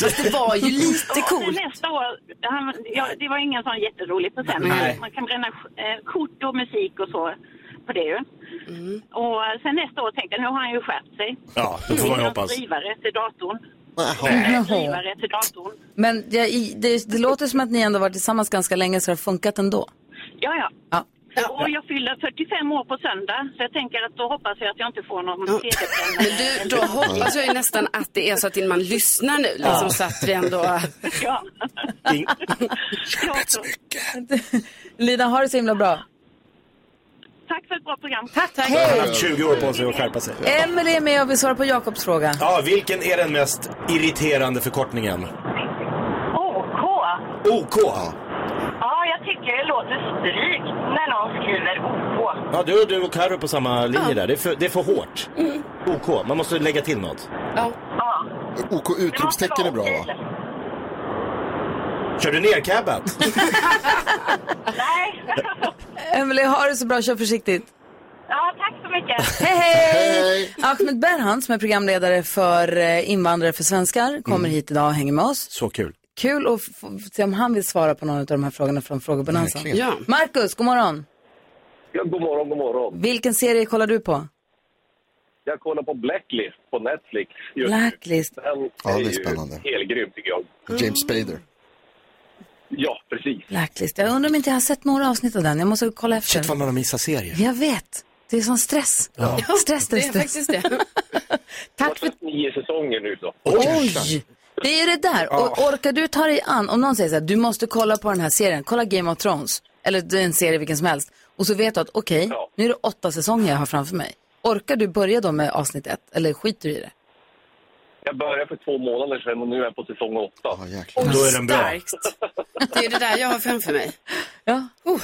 D: Fast det var ju lite
S: Och
D: coolt.
S: Nästa år, han, ja, det var ingen sån jätterolig present.
D: Nej.
S: Man kan bränna eh, kort och musik och så på det ju.
D: Mm.
S: Och sen nästa år tänkte jag, nu har han ju skärpt sig.
C: Ja, då får man ju
S: Ingen
C: hoppas.
S: Drivare till datorn.
A: Jaha.
S: Ingen Drivare till datorn.
A: Men jag, i- det, det låter som att ni ändå varit tillsammans ganska länge så det har funkat ändå.
S: Ja, ja.
A: Ja.
S: Och jag fyller 45 år på söndag, så jag tänker att då hoppas jag att jag inte får någon CD-brännare.
D: Du, då hoppas jag ju nästan att det är så att din man lyssnar nu, liksom,
S: Ja.
D: så att vi ändå...
S: Ja.
A: Lina, har det så himla bra.
S: Tack för ett bra program.
A: Tack,
C: Då har han
A: hej.
C: haft 20 år på sig att skärpa sig.
A: Emelie är med och vill svara på Jakobs fråga.
C: Ja, vilken är den mest irriterande förkortningen?
S: OK.
C: OK.
S: Ja, jag tycker det låter strykt när någon skriver OK.
C: Ja, du, du och Carro på samma linje där. Det är, för, det är för hårt. OK, man måste lägga till något.
S: Ja.
B: OK utropstecken är bra va?
C: Kör du ner cabbat?
A: Emelie, har det så bra. Kör försiktigt.
S: Ja, tack så mycket.
A: Hej, hej! Ahmed Berhan som är programledare för eh, invandrare för svenskar kommer
C: Mm.
A: hit idag och hänger med oss.
C: Så kul.
A: Kul att f- f- se om han vill svara på någon av de här frågorna från Frågebonanza.
U: Verkligen. Ja.
A: Marcus, god morgon.
U: Ja, god morgon, god morgon.
A: Vilken serie kollar du på?
U: Jag kollar på Blacklist på Netflix just nu.
A: Blacklist.
U: Den
B: Ja, det är
U: ju
B: spännande. Mm.
U: helgrym tycker jag.
B: James Spader.
U: Ja, precis.
A: Blacklist. Jag undrar om inte jag har sett några avsnitt av den. Jag måste kolla efter.
C: Shit vad man har missat serier.
A: Jag vet. Det är sån stress.
C: Ja.
A: Stress, stress,
U: det är
A: stress.
U: Tack för... Nio säsonger nu då.
A: Oj! Det är det där. Och
C: Ah.
A: orkar du ta dig an, om någon säger så här, du måste kolla på den här serien, kolla Game of Thrones, eller det är en serie vilken som helst, och så vet du att okej, nu är det åtta säsonger jag har framför mig. Orkar du börja då med avsnitt ett, eller skiter du i det?
U: Jag började för två månader sedan och nu är jag på säsong åtta.
D: Och
C: Då är den bra.
D: Starkt. Det är ju det där jag har framför mig.
A: Ja.
D: Oh.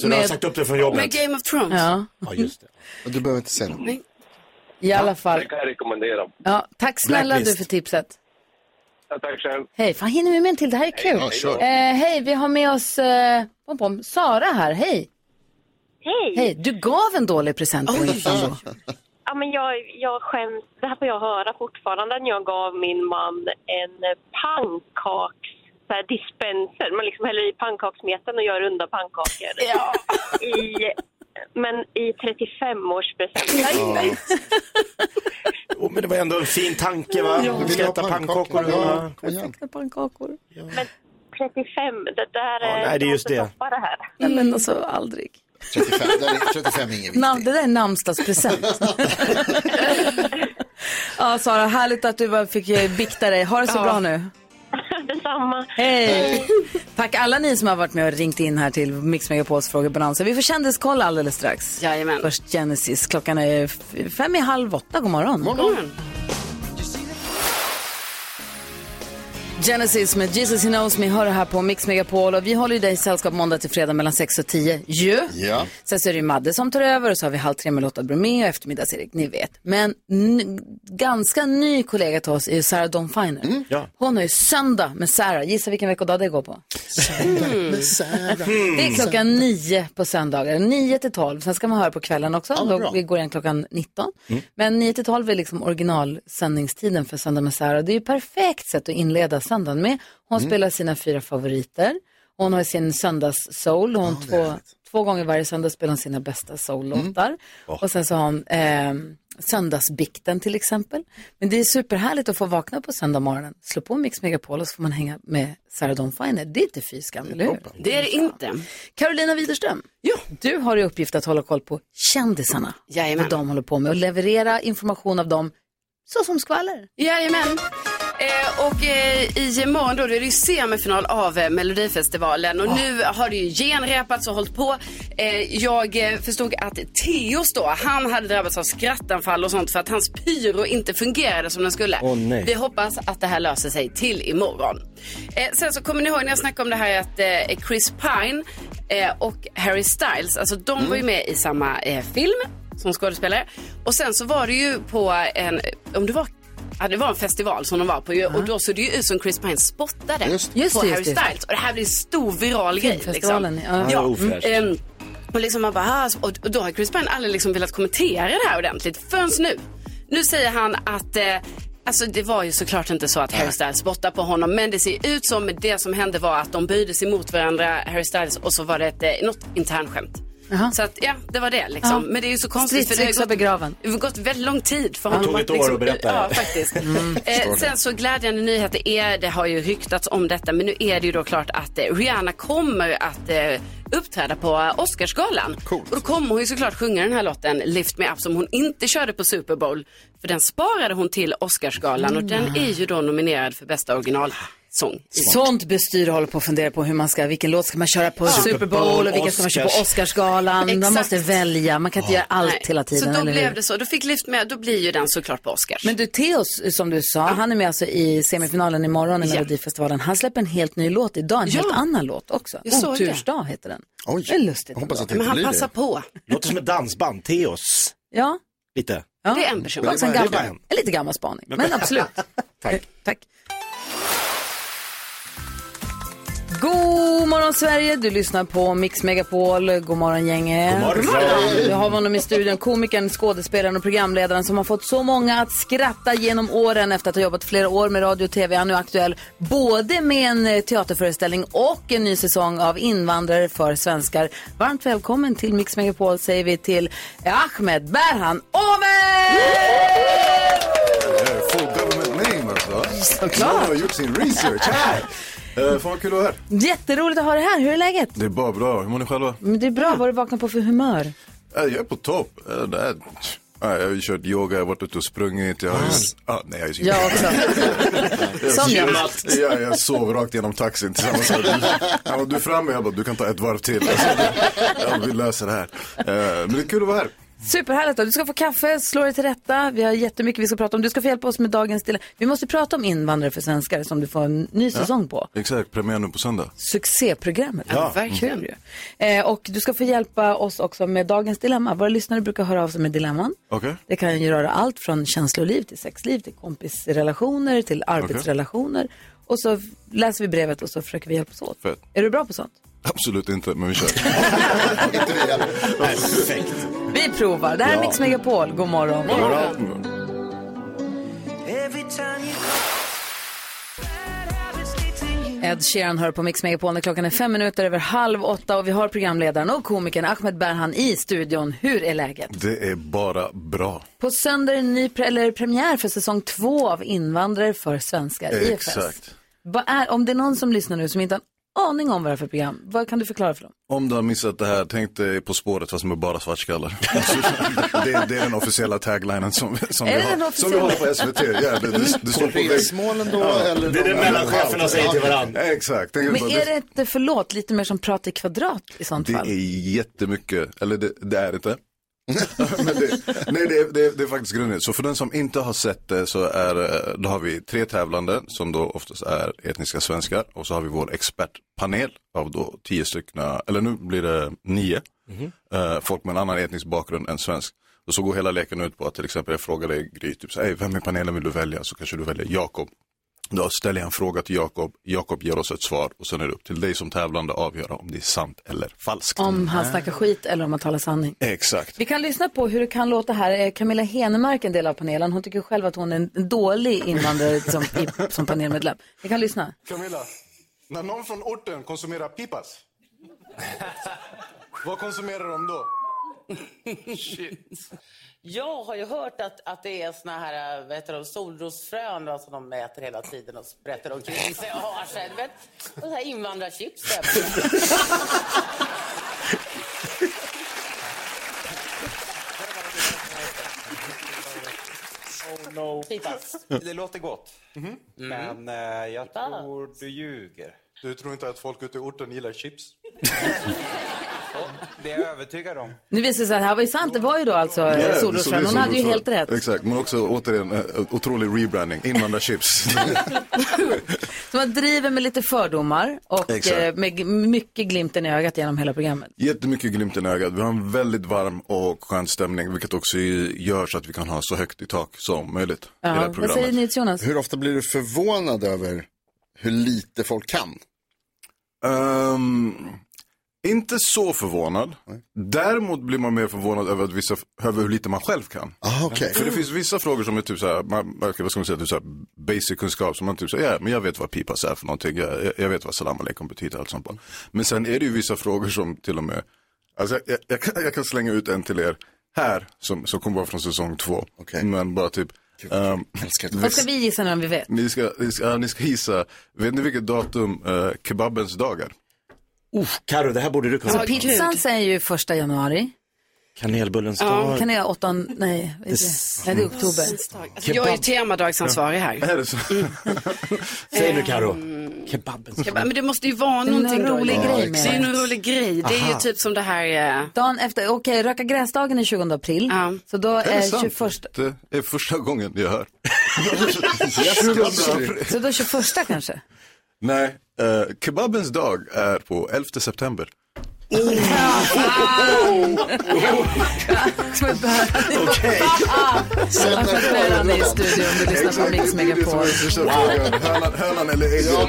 C: Så du har sagt upp dig från
D: Med
C: jobbet?
D: Game of Thrones.
A: Ja.
C: Ja, just det.
B: Du behöver inte säga något.
A: I alla fall.
U: Det kan jag rekommendera.
A: Ja, tack snälla
U: Blacklist.
A: du för tipset.
U: Ja, tack själv.
A: Hej, fan hinner vi med en till? Det här är kul.
U: Ja, kör.
A: eh, hej, vi har med oss eh, pom, pom, Sara här, hej.
V: Hej!
A: Hej, du gav en dålig present till din sambo.
V: Ja, men jag, jag skäms. Det här får jag höra fortfarande när jag gav min man en pannkaks så här dispenser. Man liksom häller i pannkakssmeten och gör runda pannkakor. I, men i 35-årspresent.
C: Ja. Jo, men det var ändå en fin tanke va?
V: Ja.
C: Vi ska äta pannkakor. Ja.
A: Pannkakor.
V: Men 35, det där
C: Ja,
V: är...
C: nej, det är just
V: jag
C: det.
V: måste stoppa det här.
A: Nej, men alltså aldrig.
B: 35, där är 35 ingen vikt.
A: Nam, det där är namnsdagspresent. ja, Sara, härligt att du var- fick eh, bikta dig. Ha det så
V: Ja.
A: bra nu.
V: Detsamma.
A: Hej! Tack alla ni som har varit med och ringt in här till Mix Megapols frågebonanza. Vi får kändiskoll alldeles strax.
D: Jajamän.
A: Först Genesis. Klockan är f- fem i halv åtta. God morgon. Genesis med Jesus He Knows Me hör det här på Mix Megapol och vi håller ju dig sällskap måndag till fredag mellan 6 och 10. Ju!
B: Ja.
A: Sen så är det ju Madde som tar över och så har vi Halv tre med Lotta Bromé och eftermiddags-Erik, ni vet. Men n- ganska ny kollega till oss är ju Sarah Dawn Finer. Hon har ju söndag med Sarah. Gissa vilken veckodag det går på? Mm. Det är klockan
W: Mm.
A: nio på söndagar. Nio till tolv. Sen ska man höra på kvällen också.
W: Ja,
A: Då
W: bra.
A: vi går igen klockan 19. Men 9 till 12 är liksom originalsändningstiden för Söndag med Sara. Det är ju perfekt sätt att inleda söndagen med. Hon
W: Mm.
A: spelar sina fyra favoriter. Hon har sin söndags-soul. Hon har två, Två gånger varje söndag spelar hon sina bästa soul-låtar.
W: Mm. Oh.
A: Och sen så har hon eh, Söndagsbikten till exempel. Men det är superhärligt att få vakna på söndag morgonen. Slå på Mix Megapol och så får man hänga med Sarah Dawn Finer. Det är inte fy skam, eller hur?
D: Det är det inte.
A: Carolina Widerström, du har i uppgift att hålla koll på kändisarna.
D: Jajamän.
A: Vad de håller på med och leverera information av dem så som skvaller.
D: Jajamän. Eh, och eh, i morgon då, då är det ju semifinal av eh, Melodifestivalen och nu har det ju genrepats och hållit på. Eh, jag eh, förstod att Theoz då, han hade drabbats av skrattanfall och sånt för att hans pyro inte fungerade som den skulle.
C: Åh, nej.
D: Vi hoppas att det här löser sig till imorgon. Eh, sen så kommer ni ihåg när jag snackade om det här att eh, Chris Pine eh, och Harry Styles, alltså de
A: Mm.
D: var ju med i samma eh, film som skådespelare. Och sen så var det ju på en, om det var Ja, det var en festival som de var på ju, och då såg det ju ut som Chris Pine spottade
A: Just
D: på
A: det. Just det,
D: Harry
A: just det.
D: Styles. Och det här blir en stor viral grej.
A: Filmfestivalen,
D: liksom.
A: ja. Ja, det är ofräscht.
D: Ehm, och, liksom man bara, "Ah", och och då har Chris Pine aldrig liksom velat kommentera det här ordentligt förrän nu. Nu säger han att eh, Alltså det var ju såklart inte så att Harry Styles spottade på honom men det ser ut som det som hände var att de böjde sig mot varandra, Harry Styles, och så var det ett, eh, något internskämt. Så att ja, det var det liksom.
A: Ja.
D: Men det är ju så konstigt för det har ju
A: Stridsyxa
D: gått,
A: begraven.
D: det har gått väldigt lång tid för
A: Det
D: honom. att
A: tog
D: liksom
A: ett år att berätta det.
D: Ja, faktiskt.
A: Mm.
D: Eh,
A: Förstår det.
D: sen så glädjande nyheter är, det har ju ryktats om detta, men nu är det ju då klart att eh, Rihanna kommer att eh, uppträda på eh, Oscarsgalan. Och då kommer hon ju såklart sjunga den här låten Lift Me Up som hon inte körde på Super Bowl. För den sparade hon till Oscarsgalan och
E: Mm.
D: den är ju då nominerad för bästa originalsång.
A: Sånt bestyr håller på att fundera på hur man ska, vilken låt ska man köra på
D: Ja.
A: Super Bowl och vilka ska man köra på
D: Oscars.
A: Oscarsgalan. Man
D: Exakt.
A: måste välja, man kan inte göra allt
D: Nej.
A: hela tiden.
D: Så då
A: eller hur?
D: blev det så, då fick Lift Me Up, då blir ju den såklart på Oscars.
A: Men du, Theoz, som du sa, han är med alltså i semifinalen imorgon i
D: Ja.
A: Melodifestivalen. Han släpper en helt ny låt idag, en
D: Ja.
A: helt annan låt också.
D: Jag såg
A: Otursdag heter den. Det är lustigt. ändå.
D: på.
C: Låter som ett dansband, Theoz.
A: Ja,
C: Lite.
A: ja.
C: Det är en person.
A: Det är också en
C: Det är bara
A: gammal,
C: en.
A: en lite gammal spaning,
C: Men-
A: men absolut.
C: Tack.
A: Tack. God morgon Sverige, du lyssnar på Mix Megapol. God morgon gänget.
K: God morgon. God morgon.
A: Nu har vi honom i studion, komikern, skådespelaren och programledaren som har fått så många att skratta genom åren efter att ha jobbat flera år med radio och tv. Han är nu aktuell både med en eh, teaterföreställning och en ny säsong av Invandrare för svenskar. Varmt välkommen till Mix Megapol säger vi till eh, Ahmed Berhan Omer!
E: Full government name alltså.
A: Såklart.
E: Någon har gjort sin research. Här! Eh, Fan vad kul att vara här.
A: Jätteroligt att ha dig här, hur är läget?
E: Det är bara bra. Hur mår ni själva?
A: Men det är bra, vad har du vaknat på för humör?
E: Eh, Jag är på topp. Eh, det är- Nej, Jag har ju kört yoga, jag har varit ute och sprungit. Jag har ju... ah, nej, jag är
A: Jag också. Som jag.
E: jag, jag sov rakt genom taxin tillsammans med dig. Han bara, du är framme, jag bara, du kan ta ett varv till. Alltså, ja, vi löser det här. Eh, Men det är kul att vara här.
A: Superhärligt. Då. Du ska få kaffe, slå dig till rätta. Vi har jättemycket vi ska prata om. Du ska få hjälpa oss med dagens del. Vi måste prata om invandrare för svenskar som du får en ny säsong på.
E: Ja, exakt, premiär nu på söndag.
A: Succéprogrammet.
E: Ja,
A: verkligen. Eh, och du ska få hjälpa oss också med dagens dilemma. Våra lyssnare brukar höra av sig med dilemman.
E: Okej?
A: Det kan ju röra allt från känsloliv till sexliv, till kompisrelationer, till arbetsrelationer. Och så läser vi brevet och så försöker vi hjälpas åt.
E: Fett.
A: Är du bra på sånt?
E: Absolut inte, men vi kör. Perfekt.
A: Vi provar. Det här är
E: Ja.
A: Mix Megapol. God morgon.
E: God morgon.
A: Ed Sheeran hör på Mix Megapol när klockan är fem minuter över halv åtta och vi har programledaren och komikern Ahmed Berhan i studion. Hur är läget?
E: Det är bara bra.
A: På söndag är det ny pre- eller premiär för säsong två av Invandrare för svenskar, IFS.
E: Exakt.
A: Vad är, om det är någon som lyssnar nu som inte har en aning om vad det är för program, vad kan du förklara för dem?
E: Om du har missat det här, tänk dig På spåret fast med bara svartskallar. det, det är den officiella taglinen som, som,
A: Är
E: vi,
A: det den
E: har, som vi har på SVT. Ja, det, det, det står på väggen.
B: Resmålen då, eller Det är det någon-
C: mellancheferna säger till
E: varandra. Exakt. Tänk
A: Men
E: dig-
A: är det inte, förlåt, lite mer som prat i kvadrat i sånt
E: det
A: fall?
E: är jättemycket, eller det, det är det inte. Men det, nej, det, är- det, är- det är faktiskt grunden. Så för den som inte har sett det så är, eh, då har vi tre tävlande som då oftast är etniska svenskar. Och så har vi vår expertpanel av då tio stycken, eller nu blir det nio,
C: Mhm.
E: eh, folk med en annan etnisk bakgrund än svensk. Och så går hela leken ut på att till exempel jag frågar dig Gry, typ så, här, "Hey, vem i panelen vill du välja? Så kanske du väljer Jakob. Då ställer jag en fråga till Jakob, Jakob ger oss ett svar och sen är det upp till dig som tävlande att avgöra om det är sant eller falskt.
A: Om han snackar skit eller om han talar sanning?
E: Exakt.
A: Vi kan lyssna på hur det kan låta här. Eh, Camilla Henemark är en del av panelen. Hon tycker själv att hon är en dålig invandrare som, i, som panelmedlem. Vi kan lyssna.
F: Camilla, när någon från orten konsumerar pipas
E: Vad konsumerar de då?
F: Shit. Jag har ju hört att, att det är såna här vad heter de, solrosfrön va, som de äter hela tiden och sprätter omkring sig och har sig. du Vet, och så här invandrarchips.
H: Oh no. Det låter gott.
A: Mm-hmm.
H: Men eh, jag
F: Pipas.
H: tror du ljuger.
E: Du tror inte att folk ute i orten gillar chips?
H: Det är jag övertygad om.
A: Nu visar det sig att det här var ju sant. Det var ju då alltså yeah,
E: Ja, det såg
A: solrosfrön.
E: ut
A: Hon
E: som
A: hade ju
E: solrosfrön.
A: helt rätt.
E: Exakt, men också återigen eh, otrolig rebranding. Invandrarchips.
A: Så man driver med lite fördomar och
E: Exakt.
A: eh, med g- mycket glimten i ögat genom hela programmet.
E: Jättemycket glimten i ögat. Vi har en väldigt varm och skön stämning, vilket också gör så att vi kan ha så högt i tak som möjligt i det här
A: Vad säger
E: programmet.
A: ni till Jonas?
B: Hur ofta blir du förvånad över hur lite folk kan?
C: Um,
E: Ehm, inte så förvånad. Däremot blir man mer förvånad över, att vissa, över hur lite man själv kan.
B: Ah, okej.
E: För det finns vissa frågor som är typ så här, man, vad ska man säga, typ så här basic kunskap som man typ säger, ja men jag vet vad pipas är för någonting, jag, jag, jag vet vad salam aleikum betyder och allt sånt. bara." Men sen är det ju vissa frågor som till och med, alltså jag, jag, jag, kan, jag kan slänga ut en till er här som, som kommer vara från säsong två. Men bara typ, ehm,
A: Vad ska vi gissa nu om vi vet?
E: ni ska, ni ska, ja, ni ska gissa, vet ni vilket datum eh, kebabens dag är?
C: Uff, Karo, det här borde du kunna.
A: Alltså, pizzan säger ju första januari.
C: Kanelbullens
A: Ja.
C: dag.
A: Kan det vara åttan? Nej, det är det är oktober.
D: Alltså, jag är ju temadagsansvarig här. Mm.
E: Är det så?
C: Säg nu Karo.
A: Ehm.
C: Kebabens
D: Ska jag bara, Men det måste ju vara
A: Det är
D: någonting
A: en rolig
D: då.
A: grej med
D: det. är
A: det.
D: en rolig grej. Det är ju
A: Aha.
D: typ som det här. Eh...
A: Dagen efter, okej, röka gräsdagen är 20 april. Så då
E: Är det
A: är,
E: sant?
A: 21,
E: Det är första gången jag hör.
A: så då 21 kanske?
E: Nej, eh, kebabens dag är på 11 september.
A: Okej. Ah, Varför spelar ni i studion? Du lyssnar på Mix Megapol.
E: Hönan, hönan eller ägget?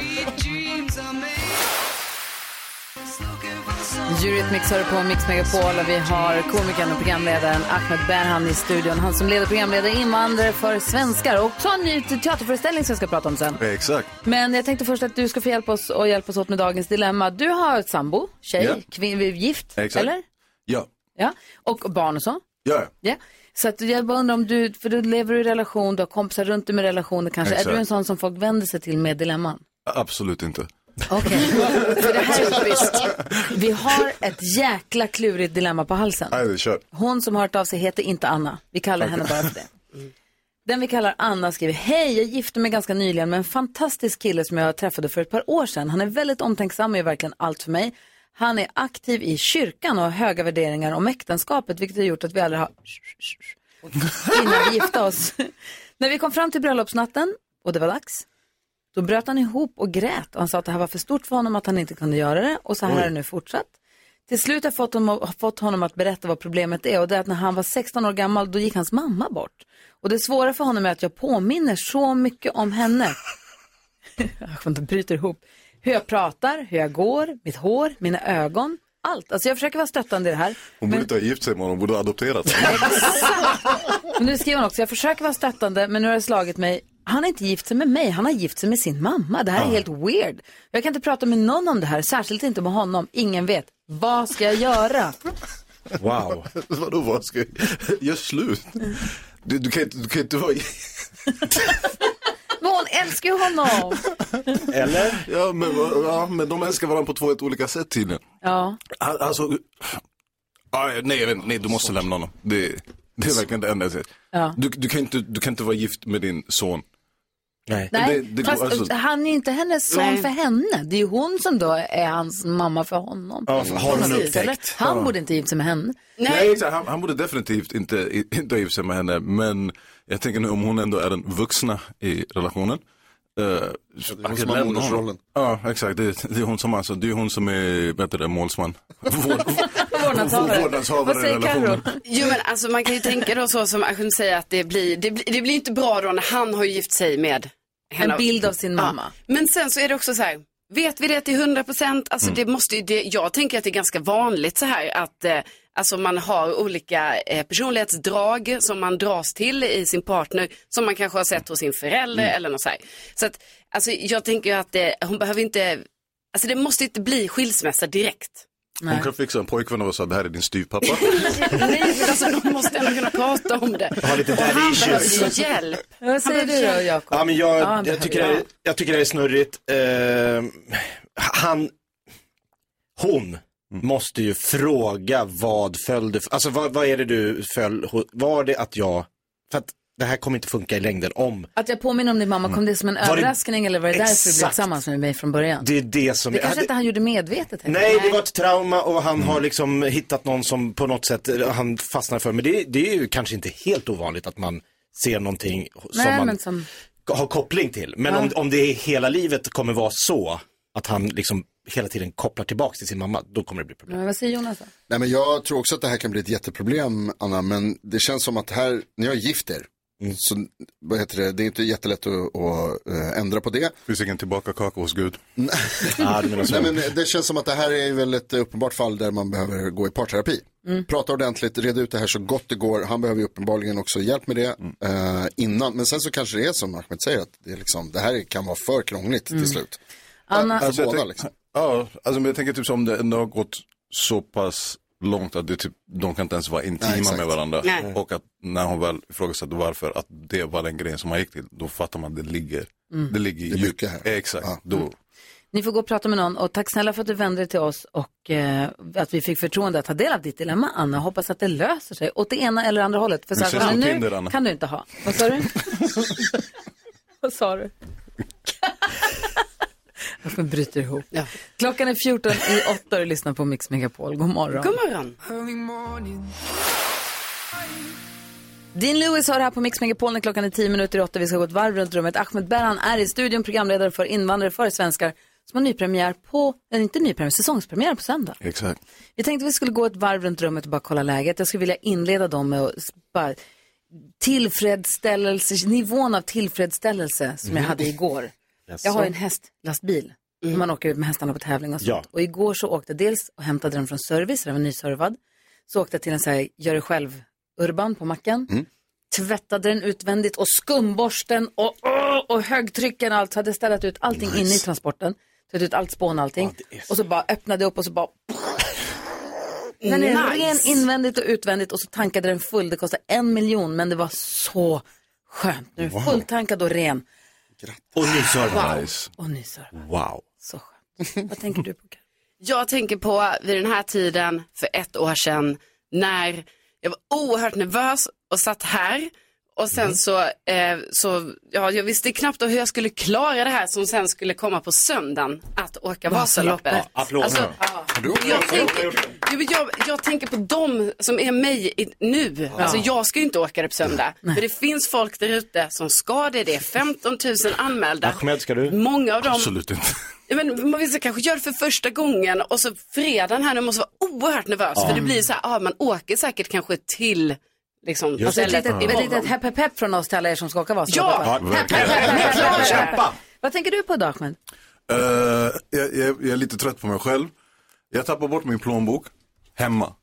A: Eurythmics hör på Mix Megapol och vi har komikern och programledaren Ahmed Berhan i studion. Han som leder programledare Invandrare för svenskar och tar en ny teaterföreställning som vi ska prata om sen.
E: Exakt.
A: Men jag tänkte först att du ska få hjälpa oss och hjälpa oss åt med dagens dilemma. Du har ett sambo, tjej,
E: Ja.
A: kvin- gift,
E: Exakt.
A: eller?
E: Ja,
A: Ja. Och barn och så.
E: ja.
A: Ja. Så att jag bara undrar om du, för du lever i relation, du har kompisar runt dig med relationer kanske. Är
E: Exakt.
A: du en sån som folk vänder sig till med dilemman?
E: Absolut inte.
A: För det här är typiskt. Vi har ett jäkla klurigt dilemma på halsen.
E: Nej, vi kör.
A: Hon som har hört av sig heter inte Anna. Vi kallar henne bara för det. Den vi kallar Anna skriver, hej, jag gifte mig ganska nyligen med en fantastisk kille som jag träffade för ett par år sedan. Han är väldigt omtänksam och gör verkligen allt för mig. Han är aktiv i kyrkan och har höga värderingar om äktenskapet, vilket har gjort att vi aldrig har innan vi gifte oss. När vi kom fram till bröllopsnatten och det var dags, då bröt han ihop och grät och han sa att det här var för stort för honom att han inte kunde göra det och så här
W: Oj.
A: har det nu fortsatt. Till slut har jag fått honom, har fått honom att berätta vad problemet är och det är att när han var 16 år gammal då gick hans mamma bort. Och det svåra för honom är att jag påminner så mycket om henne. jag bryter ihop. Hur jag pratar, hur jag går, mitt hår, mina ögon, allt. Alltså jag försöker vara stöttande i det här.
E: Hon borde inte ha gift sig med honom, hon borde ha adopterat honom.
A: Men nu skriver hon också, jag försöker vara stöttande men nu har det slagit mig. Han har inte gift sig med mig, han har gift sig med sin mamma. Det här är helt weird. Jag kan inte prata med någon om det här, särskilt inte med honom. Ingen vet. Vad ska jag göra?
E: Wow. Vadå, vad ska jag... Gör slut. Du, du, kan inte, du kan inte vara...
A: Men hon älskar ju honom.
E: Eller? Ja, men, ja, men de älskar varandra på två helt olika sätt tydligen.
A: Ja.
E: Al- Alltså, ah, nej, jag vet, inte. nej du måste lämna honom. Det, det är verkligen det enda jag säger.
A: Ja.
E: Du, du, kan inte, du kan inte vara gift med din son. Nej,
A: Nej,
E: det, det,
A: fast
E: går, alltså,
A: han är ju inte hennes son
E: Nej.
A: för henne. Det är ju hon som då är hans mamma för honom.
E: Ja, för har hon
A: Precis,
E: upptäckt?
A: eller? Han
E: Ja.
A: borde inte gift sig med henne.
E: nej. exakt. han, han borde definitivt inte, i- inte ha gift sig med henne. Men jag tänker nu om hon ändå är den vuxna i relationen. eh, så
B: hon
E: man kan
B: som har
E: lämna honom.
B: modersrollen.
E: Ja, exakt. Det, det är hon som, alltså, det är hon som är, vad heter det, målsman. Vår-
D: Vårdnadshavare.
E: Vårdnadshavare i relationen.
D: Jo men alltså man kan ju tänka då så som Ashun säger att det blir, det blir, det blir inte bra då när han har gift sig med henne.
A: En bild av sin mamma.
D: Men sen så är det också så här, vet vi det till 100 procent? Alltså
E: Mm.
D: det måste ju, det, jag tänker att det är ganska vanligt så här att eh, alltså man har olika eh, personlighetsdrag som man dras till i sin partner som man kanske har sett hos sin förälder
A: Mm.
D: eller något så här. Så att, alltså jag tänker ju att eh, hon behöver inte, alltså det måste inte bli skilsmässa direkt.
E: Hon kan fixa en pojkvän och vara så här, det här är din styvpappa.
D: Nej, men alltså de måste ändå kunna prata om det.
C: Har lite
D: Och han
C: daddy
D: behöver
C: issues.
D: ju hjälp.
A: Vad säger
D: Han
A: du
D: behöver
A: då,
D: hjälp.
A: Jakob?
C: Ja, men jag,
A: han
C: jag,
A: behöver
C: tycker det
A: hjälp.
C: är, jag tycker det är snurrigt. Eh, han, hon måste ju fråga vad följde, alltså vad, vad är det du föll, var det att jag, för att det här kommer inte funka i längden om
A: Att jag påminner om din mamma,
E: Mm.
A: kom det som en
C: Var det-
A: överraskning eller var det därför du blev
C: Exakt.
A: tillsammans med mig från början?
C: det är det som
A: Det
C: är-
A: kanske inte han gjorde medvetet heller.
C: Nej, det var ett trauma och han har liksom hittat någon som på något sätt eh, han fastnar för. Men det, det är ju kanske inte helt ovanligt att man ser någonting som
A: Nej,
C: man
A: men som...
C: har koppling till. Men om, om det är hela livet kommer vara så att han liksom hela tiden kopplar tillbaks till sin mamma, då kommer det bli problem.
A: Men vad säger Jonas då?
B: Nej, men jag tror också att det här kan bli ett jätteproblem, Anna, men det känns som att här, när jag är gift er,
C: Mm.
B: så, vad heter det, det är inte jättelätt att, att eh, ändra på det.
E: Finns ingen tillbaka kaka hos Gud.
B: Nej,
E: Ja, du menar så.
B: men det känns som att det här är väl ett uppenbart fall där man behöver gå i parterapi.
A: Mm.
B: Prata ordentligt, reda ut det här så gott det går. Han behöver ju uppenbarligen också hjälp med det
C: Mm.
B: eh, innan. Men sen så kanske det är som Ahmed säger, att det, är liksom, det här kan vara för krångligt
A: Mm.
B: till slut.
A: Anna-
B: För
E: Alltså, jag
B: båda,
E: tänk-
B: liksom.
E: Ja, alltså, men jag tänker typ som det ändå har gått så pass långt att det typ, de kan inte ens vara intima
B: Nej, exakt.
E: med varandra.
B: Nej.
E: Och att när hon väl ifrågasatte varför, att det var den grejen som han gick till, då fattar man att det ligger,
A: Mm.
E: det ligger i djup. Exakt, då.
A: Ni får gå och prata med någon och tack snälla för att du vände dig till oss och eh, att vi fick förtroende att ta del av ditt dilemma Anna. Hoppas att det löser sig åt det ena eller andra hållet. För
E: Vi
A: så här
E: ses
A: som
E: på
A: det är
E: Tinder,
A: nu
E: Anna.
A: kan du inte ha. Vad sa du? Vad sa du? Varför bryter ihop? Klockan är 14 i 8 och du lyssnar på Mix Megapol. God morgon.
D: God morgon.
A: Din Lewis har det här på Mix Megapol när klockan är 10 minuter i 8. Vi ska gå ett varv runt rummet. Ahmed Berhan är i studion, programledare för invandrare för svenskar som har nypremiär på, eller inte nypremiär, säsongspremiär på söndag.
E: Exakt.
A: Vi tänkte vi skulle gå ett varv runt rummet och bara kolla läget. Jag skulle vilja inleda dem med att s- bara tillfredsställelse, nivån av tillfredsställelse som jag
D: Mm.
A: hade igår.
D: Jaså?
L: Alltså-
A: Jag har en hästlastbil. Man åker ut med hästarna på tävling och sånt.
D: Ja.
A: Och igår så åkte jag dels och hämtade den från service, den var nyservad. Så åkte jag till en så här gör det själv urban på macken. Tvättade den utvändigt och skumborsten och, och, och högtrycken och allt. Så hade jag städat ut allting inne i transporten. Tagit ut allt spån och allting. Och så bara öppnade jag upp och så bara den är
D: Nice.
A: ren invändigt och utvändigt och så tankade den full. Det kostade en miljon men det var så skönt. Nu är den
C: Wow.
A: fulltankad och ren.
C: Och ny server.
A: Wow.
E: Nice.
A: Och nyservad.
C: Wow.
A: Så skönt. Vad tänker du på?
D: Jag tänker på vid den här tiden för ett år sedan när jag var oerhört nervös och satt här och sen så, eh, så ja, jag visste knappt hur jag skulle klara det här som sen skulle komma på söndagen att åka Vasaloppet.
C: Ja, Applåder.
D: Alltså, jag, tänker, jo, men jag, jag tänker på dem som är mig i, nu. Alltså jag ska ju inte åka det på söndag. Men det finns folk där ute som ska det. Det är 15 000 anmälda.
C: Ahmed, ska du?
D: Många av dem-
E: Absolut inte.
D: Ja, Men man vill så kanske göra det för första gången och så fredagen här nu måste vara oerhört nervös
A: Ja.
D: för det blir så här, ah, man åker säkert kanske till liksom
A: Just alltså, ett litet, ett
D: imorgon.
A: litet hepp, hepp, hepp från oss till alla er som ska åka
D: Ja!
A: Vasaloppet.
E: Ja,
A: Hepp, hepp,
E: verkligen.
A: hepp, hepp,
E: Klar,
A: hepp, hepp.
E: kämpa!
A: Vad tänker du på då, Ahmed?
E: Eh, jag, jag, jag är lite trött på mig själv. Jag tappar bort min plånbok hemma.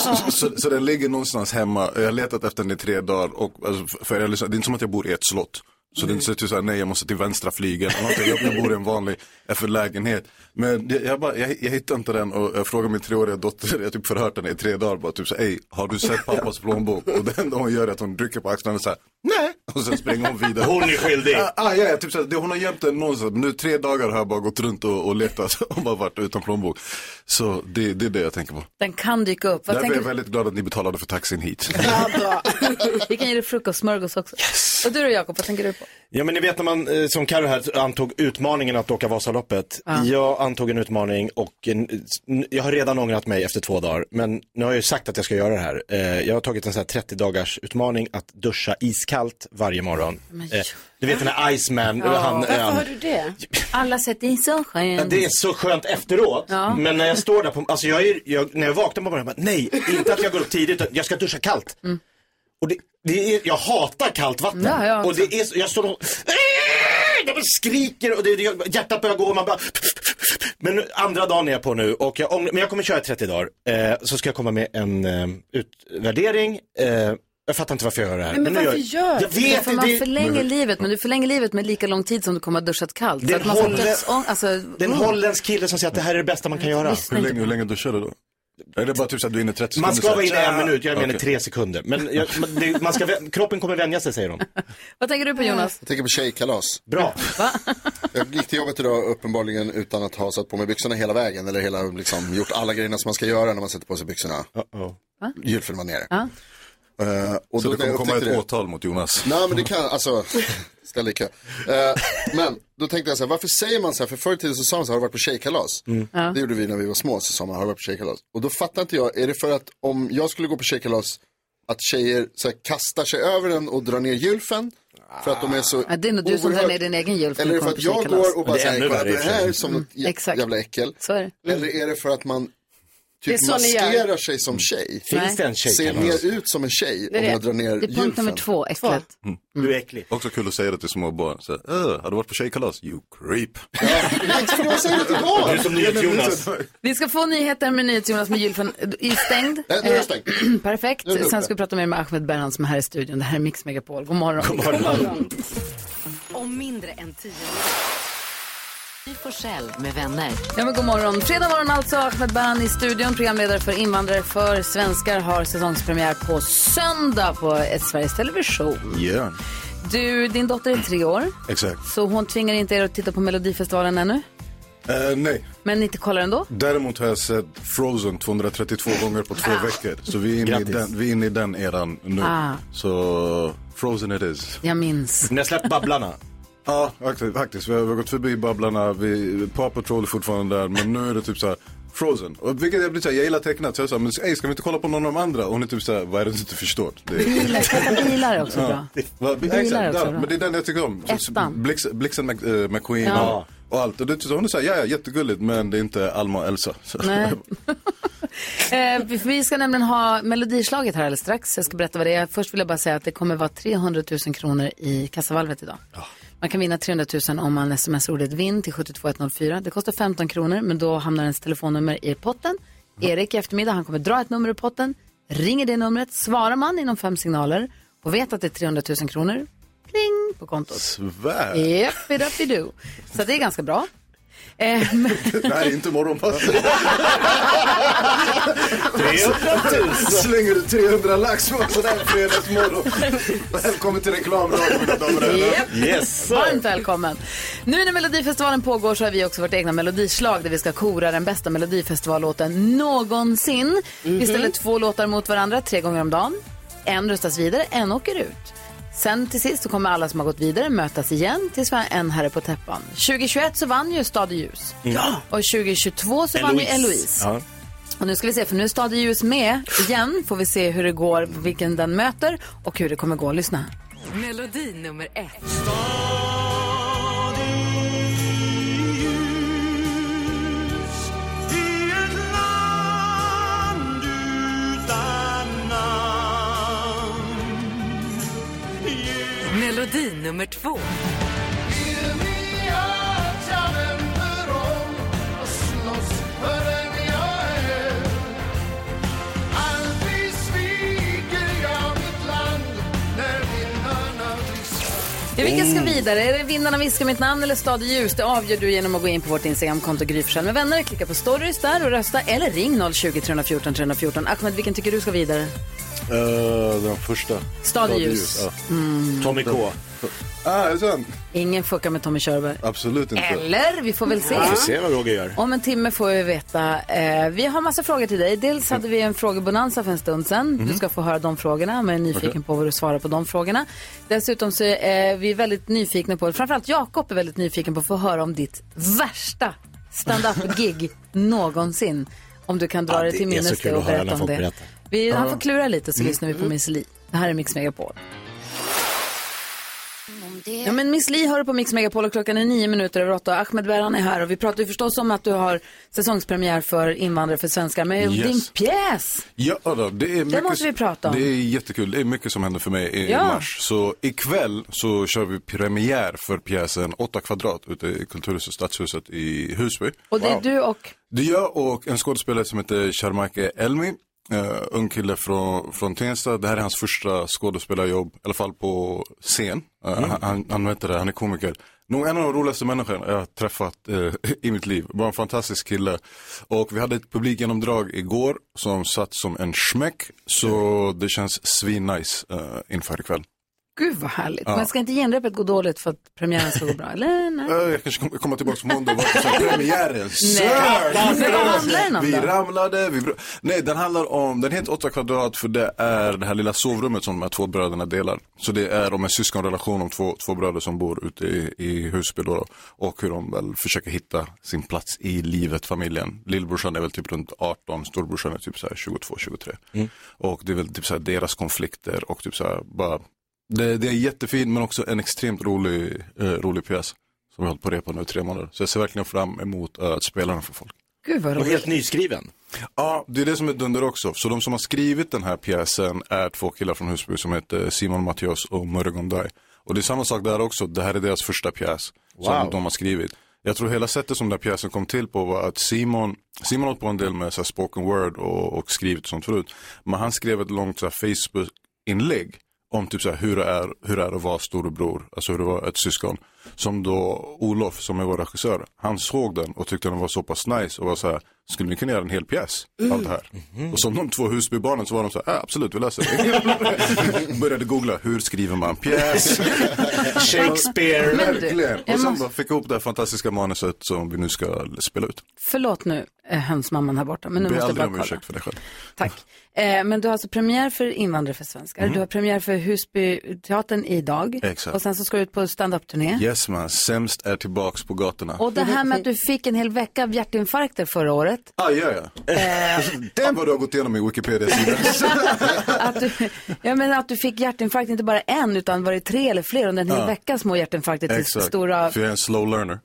E: Så, så, så den ligger någonstans hemma. Jag har letat efter den i tre dagar. Och, alltså, f- för jag, lyssnar- det är inte som att jag bor i ett slott. Så det är inte så att jag säger, nej jag måste till vänstra flygeln. eller någonting. Jag, jag bor i en vanlig eh, för lägenhet. Men jag, jag, bara, jag, jag hittar inte den och jag frågar min treåriga dotter, jag har typ förhört henne i tre dagar. Bara, typ så, ej, har du sett pappas plånbok? Och det enda hon gör är att hon rycker på axlarna så här, nej. Och sen springer hon vidare.
C: Hon är skyldig.
E: Ja, Ah, ja, ja, typ såhär, det, hon har gömt den någonstans. Men nu tre dagar har jag bara gått runt och, och letat och bara varit utan plånbok. Så det, det är det jag tänker på.
A: Den kan dyka upp. Vad
E: Därför är
A: tänker
E: jag
A: du?
E: väldigt glad att ni betalade för taxin hit.
A: Vi kan ge dig frukostsmörgås också. Och du då, Jakob, vad tänker du på?
C: Ja men ni vet när man, eh, som Carro här, antog utmaningen att åka Vasaloppet.
A: Ja.
C: Jag antog en utmaning och en, n- jag har redan ångrat mig efter två dagar. Men nu har jag ju sagt att jag ska göra det här. Eh, Jag har tagit en sån här 30 dagars utmaning att duscha iskallt varje morgon.
A: Men
C: Eh, Du vet den här Iceman, han,
A: Varför
C: han,
A: har du det? Alla sätt är så
C: Ja,
A: skönt.
C: det är så skönt efteråt.
A: Ja.
C: Men när jag står där på, alltså jag är, jag, när jag vaknar på morgonen, bara, nej, inte att jag går upp tidigt, utan jag ska duscha kallt. Och det, det är, jag hatar kallt vatten.
A: Mm. Ja, jag
C: och det är, så- jag står och, jag bara skriker och det, det, hjärtat börjar gå och man bara, men nu- andra dagen är jag på nu och jag ångrar, men jag kommer köra i 30 dagar. Eh, så ska jag komma med en eh, utvärdering. Eh, Jag fattar inte varför jag gör det här.
A: Nej, men
C: nu
A: varför
C: jag...
A: gör
C: jag
A: du det?
C: vet
A: För
C: inte,
A: man
C: det-
A: förlänger
C: Men-
A: livet, men du förlänger livet med lika lång tid som du kommer att ha duschat kallt.
C: Det
A: så att man får
C: håller-
A: dödsång- alltså,
C: Det är en
A: mm.
C: holländsk kille som säger att det här är det bästa man kan göra.
E: Hur länge, hur länge duschar du då? Är det bara typ så att du är inne 30
C: Man
E: sekunder?
C: ska vara inne en minut, jag
E: Okej.
C: menar tre sekunder. Men jag, men det, man ska, vä- kroppen kommer vänja sig säger de.
A: Vad tänker du på Jonas?
B: Jag tänker på tjejkalas.
C: Bra.
B: Jag gick till jobbet idag uppenbarligen utan att ha satt på mig byxorna hela vägen. Eller hela, liksom, gjort alla grejerna som man ska göra när man sätter på sig byxorna.
A: Va?
B: Julfilmen var nere.
A: Ja.
B: Eh, och
E: Så
B: då
E: det kommer
B: när jag
E: komma ett
B: upptäckte det-
E: åtal mot Jonas.
B: Nej men det kan, alltså, ställ dig i kö. Eh, men då tänkte jag så här, varför säger man så här? För förr i tiden så sa man så här, har du varit på tjejkalas?
A: Ja.
B: Det gjorde vi när vi var små, så sa man, har du varit på tjejkalas? Och då fattar inte jag, är det för att om jag skulle gå på tjejkalas, att tjejer så här, kastar sig över den och drar ner gylfen? För att de är så
A: Ja, det är nog du som
B: oerhört-
A: drar ner din egen julfilm.
B: Eller är det för att jag går och bara säger, kolla det här är som något jä-
A: Exakt.
B: jävla äckel.
A: Så är det. Mm.
B: Eller är det för att man
A: Det är
B: typ
A: så ni gör.
B: maskerar sig som tjej?
A: Finns det en
B: Ser
A: tjejkalas?
B: mer ut som en tjej
A: Det är
B: om
A: det.
B: jag drar ner
A: Det är punkt
B: gylfen.
A: nummer två, äcklet.
C: Mm. Du är äcklig.
E: Också kul att säga det till små barn. Så, här, "Äh, har du varit på tjejkalas? You creep.
B: Ska man säga det till barn?
E: Du är som NyhetsJonas.
A: Vi ska få nyheter med NyhetsJonas med gylfen i stängd.
B: Nej, nu är jag stängd.
A: Eh, Perfekt.
B: Nu är det
A: Sen ska
B: uppe.
A: vi prata mer med Ahmed Berhan som är här i studion. Det här är Mix Megapol. God morgon.
K: God morgon. God morgon. Om mindre än tio Vi får själv med vänner.
A: Ja, men god morgon. Fredag morgon alltså. Ahmed Berhan i studion. Programledare för invandrare för svenskar har säsongspremiär på söndag på Sveriges Television.
E: Yeah.
A: Du, din dotter är tre år.
E: Exakt.
A: Så hon tvingar inte er att titta på Melodifestivalen ännu.
E: Eh, nej.
A: Men ni kollar ändå?
E: Däremot har jag sett Frozen 232 gånger på två veckor. Så vi är inne, i
A: Grattis.
E: den, vi är inne i den eran nu.
A: Ah.
E: Så Frozen it is.
A: Jag minns.
C: Ni har släppt Babblarna?
E: Ja, faktiskt. faktiskt. Vi, har, vi har gått förbi Babblarna, vi, Paw Patrol är fortfarande där, men nu är det typ så här Frozen. Och vilket jag blir så här, jag gillar tecknat, så jag sa, men ey, ska vi inte kolla på någon av de andra? Och hon är typ så här, vad är det du inte förstår? Det är-
A: Bilar, bilar är också
E: Eh. Ja.
A: bra.
E: Va,
A: Bilar är
E: exakt,
A: också
E: ja,
A: bra.
E: Men det är den jag tycker om. Så- så
A: Ettan.
E: Blix, Blixen Mc, eh, McQueen
A: Ja.
E: och, och allt. Och det, så hon är såhär, ja, ja jättegulligt men det är inte Alma och Elsa. Så.
A: Nej. Eh, vi- vi ska nämligen ha melodislaget här alldeles strax. Jag ska berätta vad det är. Först vill jag bara säga att det kommer vara 300 000 kronor i kassavalvet idag. Man kan vinna 300 000 om man sms ordet vinn till 72104. Det kostar 15 kronor, men då hamnar ens telefonnummer i potten. Erik i eftermiddag, han kommer dra ett nummer ur potten, ringer det numret, svarar man inom fem signaler och vet att det är 300 000 kronor, pling på kontot.
E: Svär.
A: Yep, Så det är ganska bra. Eh, men-
E: Det här är inte morgonpasset.
L: 300 000.
E: Slänger du 300 lax på en sån här fredagsmorgon. Välkommen till reklamradion mina damer och herrar.
A: Yes. Varmt välkommen. Nu när Melodifestivalen pågår så har vi också vårt egna melodislag där vi ska kora den bästa Melodifestivallåten någonsin. Vi ställer två låtar mot varandra tre gånger om dagen. En röstas vidare, en åker ut. Sen till sist så kommer alla som har gått vidare mötas igen tills vi har en herre på täppan. 2021 så vann ju Stad i ljus.
L: Ja.
A: Och 2022 så vann ju Eloise.
L: Ja.
A: Och nu ska vi se, för nu är Stad i ljus med igen. Får vi se hur det går, vilken den möter och hur det kommer gå. Lyssna här.
K: Melodi nummer ett. Melodi nummer två.
A: Ja, vilka
C: Mm.
A: ska vidare? Är det vinnarna viskar mitt namn eller Stad i ljus? Det avgör du genom att gå in på vårt Instagramkonto Gry Forssell med vänner. Klicka på stories där och rösta eller ring 020 314 314. Ahmed, vilken tycker du ska vidare?
E: Eh, den första.
A: Stad i ljus. Mm.
C: Tommy K.
E: Ah, är det sant?
A: Ingen fuckar med Tommy Körberg.
E: Absolut inte.
A: Eller, vi får väl se.
C: Vi får se vad Roger gör.
A: Om en timme får vi veta. Eh, vi har massa frågor till dig. Dels hade vi en frågebonanza för en stund sedan. Du
C: Mm.
L: Mhm.
A: ska få höra de frågorna. Man är nyfiken
L: Okej.
A: på vad du svarar på de frågorna. Dessutom så är vi väldigt nyfikna på, framförallt Jakob är väldigt nyfiken på att få höra om ditt värsta stand-up-gig någonsin. Om du kan dra
C: Ja,
A: dig
C: det
A: till
C: är
A: minnes
C: så kul
A: det och
C: att höra
A: berätta
C: när
A: om
C: folk
A: det.
C: berättar.
A: Vi, han
C: Ja.
A: får klura lite så
C: Mm.
A: lyssnar vi på
C: Mm.
A: Miss Li. Det här är Mix Megapol. Ja, men Miss Li hör på Mix Megapol och klockan är nio minuter över åtta. Ahmed Berhan är här och vi pratar ju förstås om att du har säsongspremiär för invandrare för svenskar med
E: Yes.
A: din pjäs.
E: Ja, då, det, är mycket,
A: måste vi prata om.
E: Det är jättekul. Det är mycket som händer för mig i
A: Ja.
E: mars. Så ikväll så kör vi premiär för pjäsen 8 kvadrat ute i Kulturhuset, Stadshuset i Husby.
A: Och det är du och
E: Det är jag och en skådespelare som heter Sharmake Elmi. eh, ung kille från, från Tensta. Det här är hans första skådespelarjobb, i alla fall på scen. Eh, han- han, han, vet det, han är komiker. Nog en av de roligaste människorna jag har träffat eh, i mitt liv. Bara en fantastisk kille. Och vi hade ett publikgenomdrag igår som satt som en smäck. Så det känns svinnice eh, inför ikväll.
A: Gud vad härligt.
E: Ja.
A: Men ska inte genrepet gå dåligt för att premiären ska gå bra? Eller? Nej.
E: Eh, Jag kanske kommer komma tillbaka på måndag och vara på premiären. Sir!
A: Men vad handlar den om
E: Vi
A: då?
E: ramlade, vi... br- Nej, den handlar om, den heter 8 kvadrat för det är det här lilla sovrummet som de här två bröderna delar. Så det är om en syskonrelation om två, två bröder som bor ute i, i Husby då, och hur de väl försöker hitta sin plats i livet, familjen. Lillbrorsan är väl typ runt 18, storbrorsan är typ så här 22, 23.
A: Mm.
E: Och det är väl typ så här deras konflikter och typ så här bara det, det är jättefint men också en extremt rolig, eh, rolig pjäs. Som vi har hållit på att repa nu i tre månader. Så jag ser verkligen fram emot eh, att spela den för folk.
A: Gud vad
C: Och
A: roligt.
C: helt nyskriven.
E: Ja, det är det som är dunder också. Så de som har skrivit den här pjäsen är två killar från Husby som heter Simon Mattias och Murre Gondai. Och det är samma sak där också. Det här är deras första pjäs som
C: Wow.
E: de har skrivit. Jag tror hela sättet som den här pjäsen kom till på var att Simon, Simon har hållit på en del med så här spoken word och, och skrivit och sånt förut. Men han skrev ett långt så här Facebook-inlägg om typ så här hur det är, hur det är att vara storebror, alltså hur det var ett syskon. Som då Olof, som är vår regissör, han såg den och tyckte den var så pass nice och var så här, skulle ni kunna göra en hel pjäs av det här? Och som de två Husbybarnen så var de så här, "Ja, absolut vi löser det. Började googla, hur skriver man pjäs?
A: Shakespeare. Men du,
E: Verkligen.
A: jag
E: Och sen
A: måste-
E: bara fick ihop det här fantastiska manuset som vi nu ska spela ut.
A: Förlåt nu, eh, hönsmamman här borta, men nu
E: Be
A: måste jag
E: aldrig
A: bara
E: om
A: kolla.
E: ursäkt för det själv.
A: Tack. Eh, men du har alltså premiär för Invandrare för svenskar.
E: Mm.
A: Du har premiär för Husbyteatern idag.
E: Exakt.
A: Och sen så ska du ut på stand-up-turné.
E: Yes man, sämst är tillbaks på gatorna.
A: Och det här med att du fick en hel vecka av hjärtinfarkter förra året.
E: Ah, gör jag?
A: Eh.
E: Den vad du har gått igenom i Wikipedia-sidan.
A: att du, jag menar att du fick hjärtinfarkt, inte bara en, utan var det tre eller fler under en hel
E: Ja.
A: vecka små hjärtinfarkter till
E: Exakt,
A: stora, Oh,
E: för jag är en slow learner.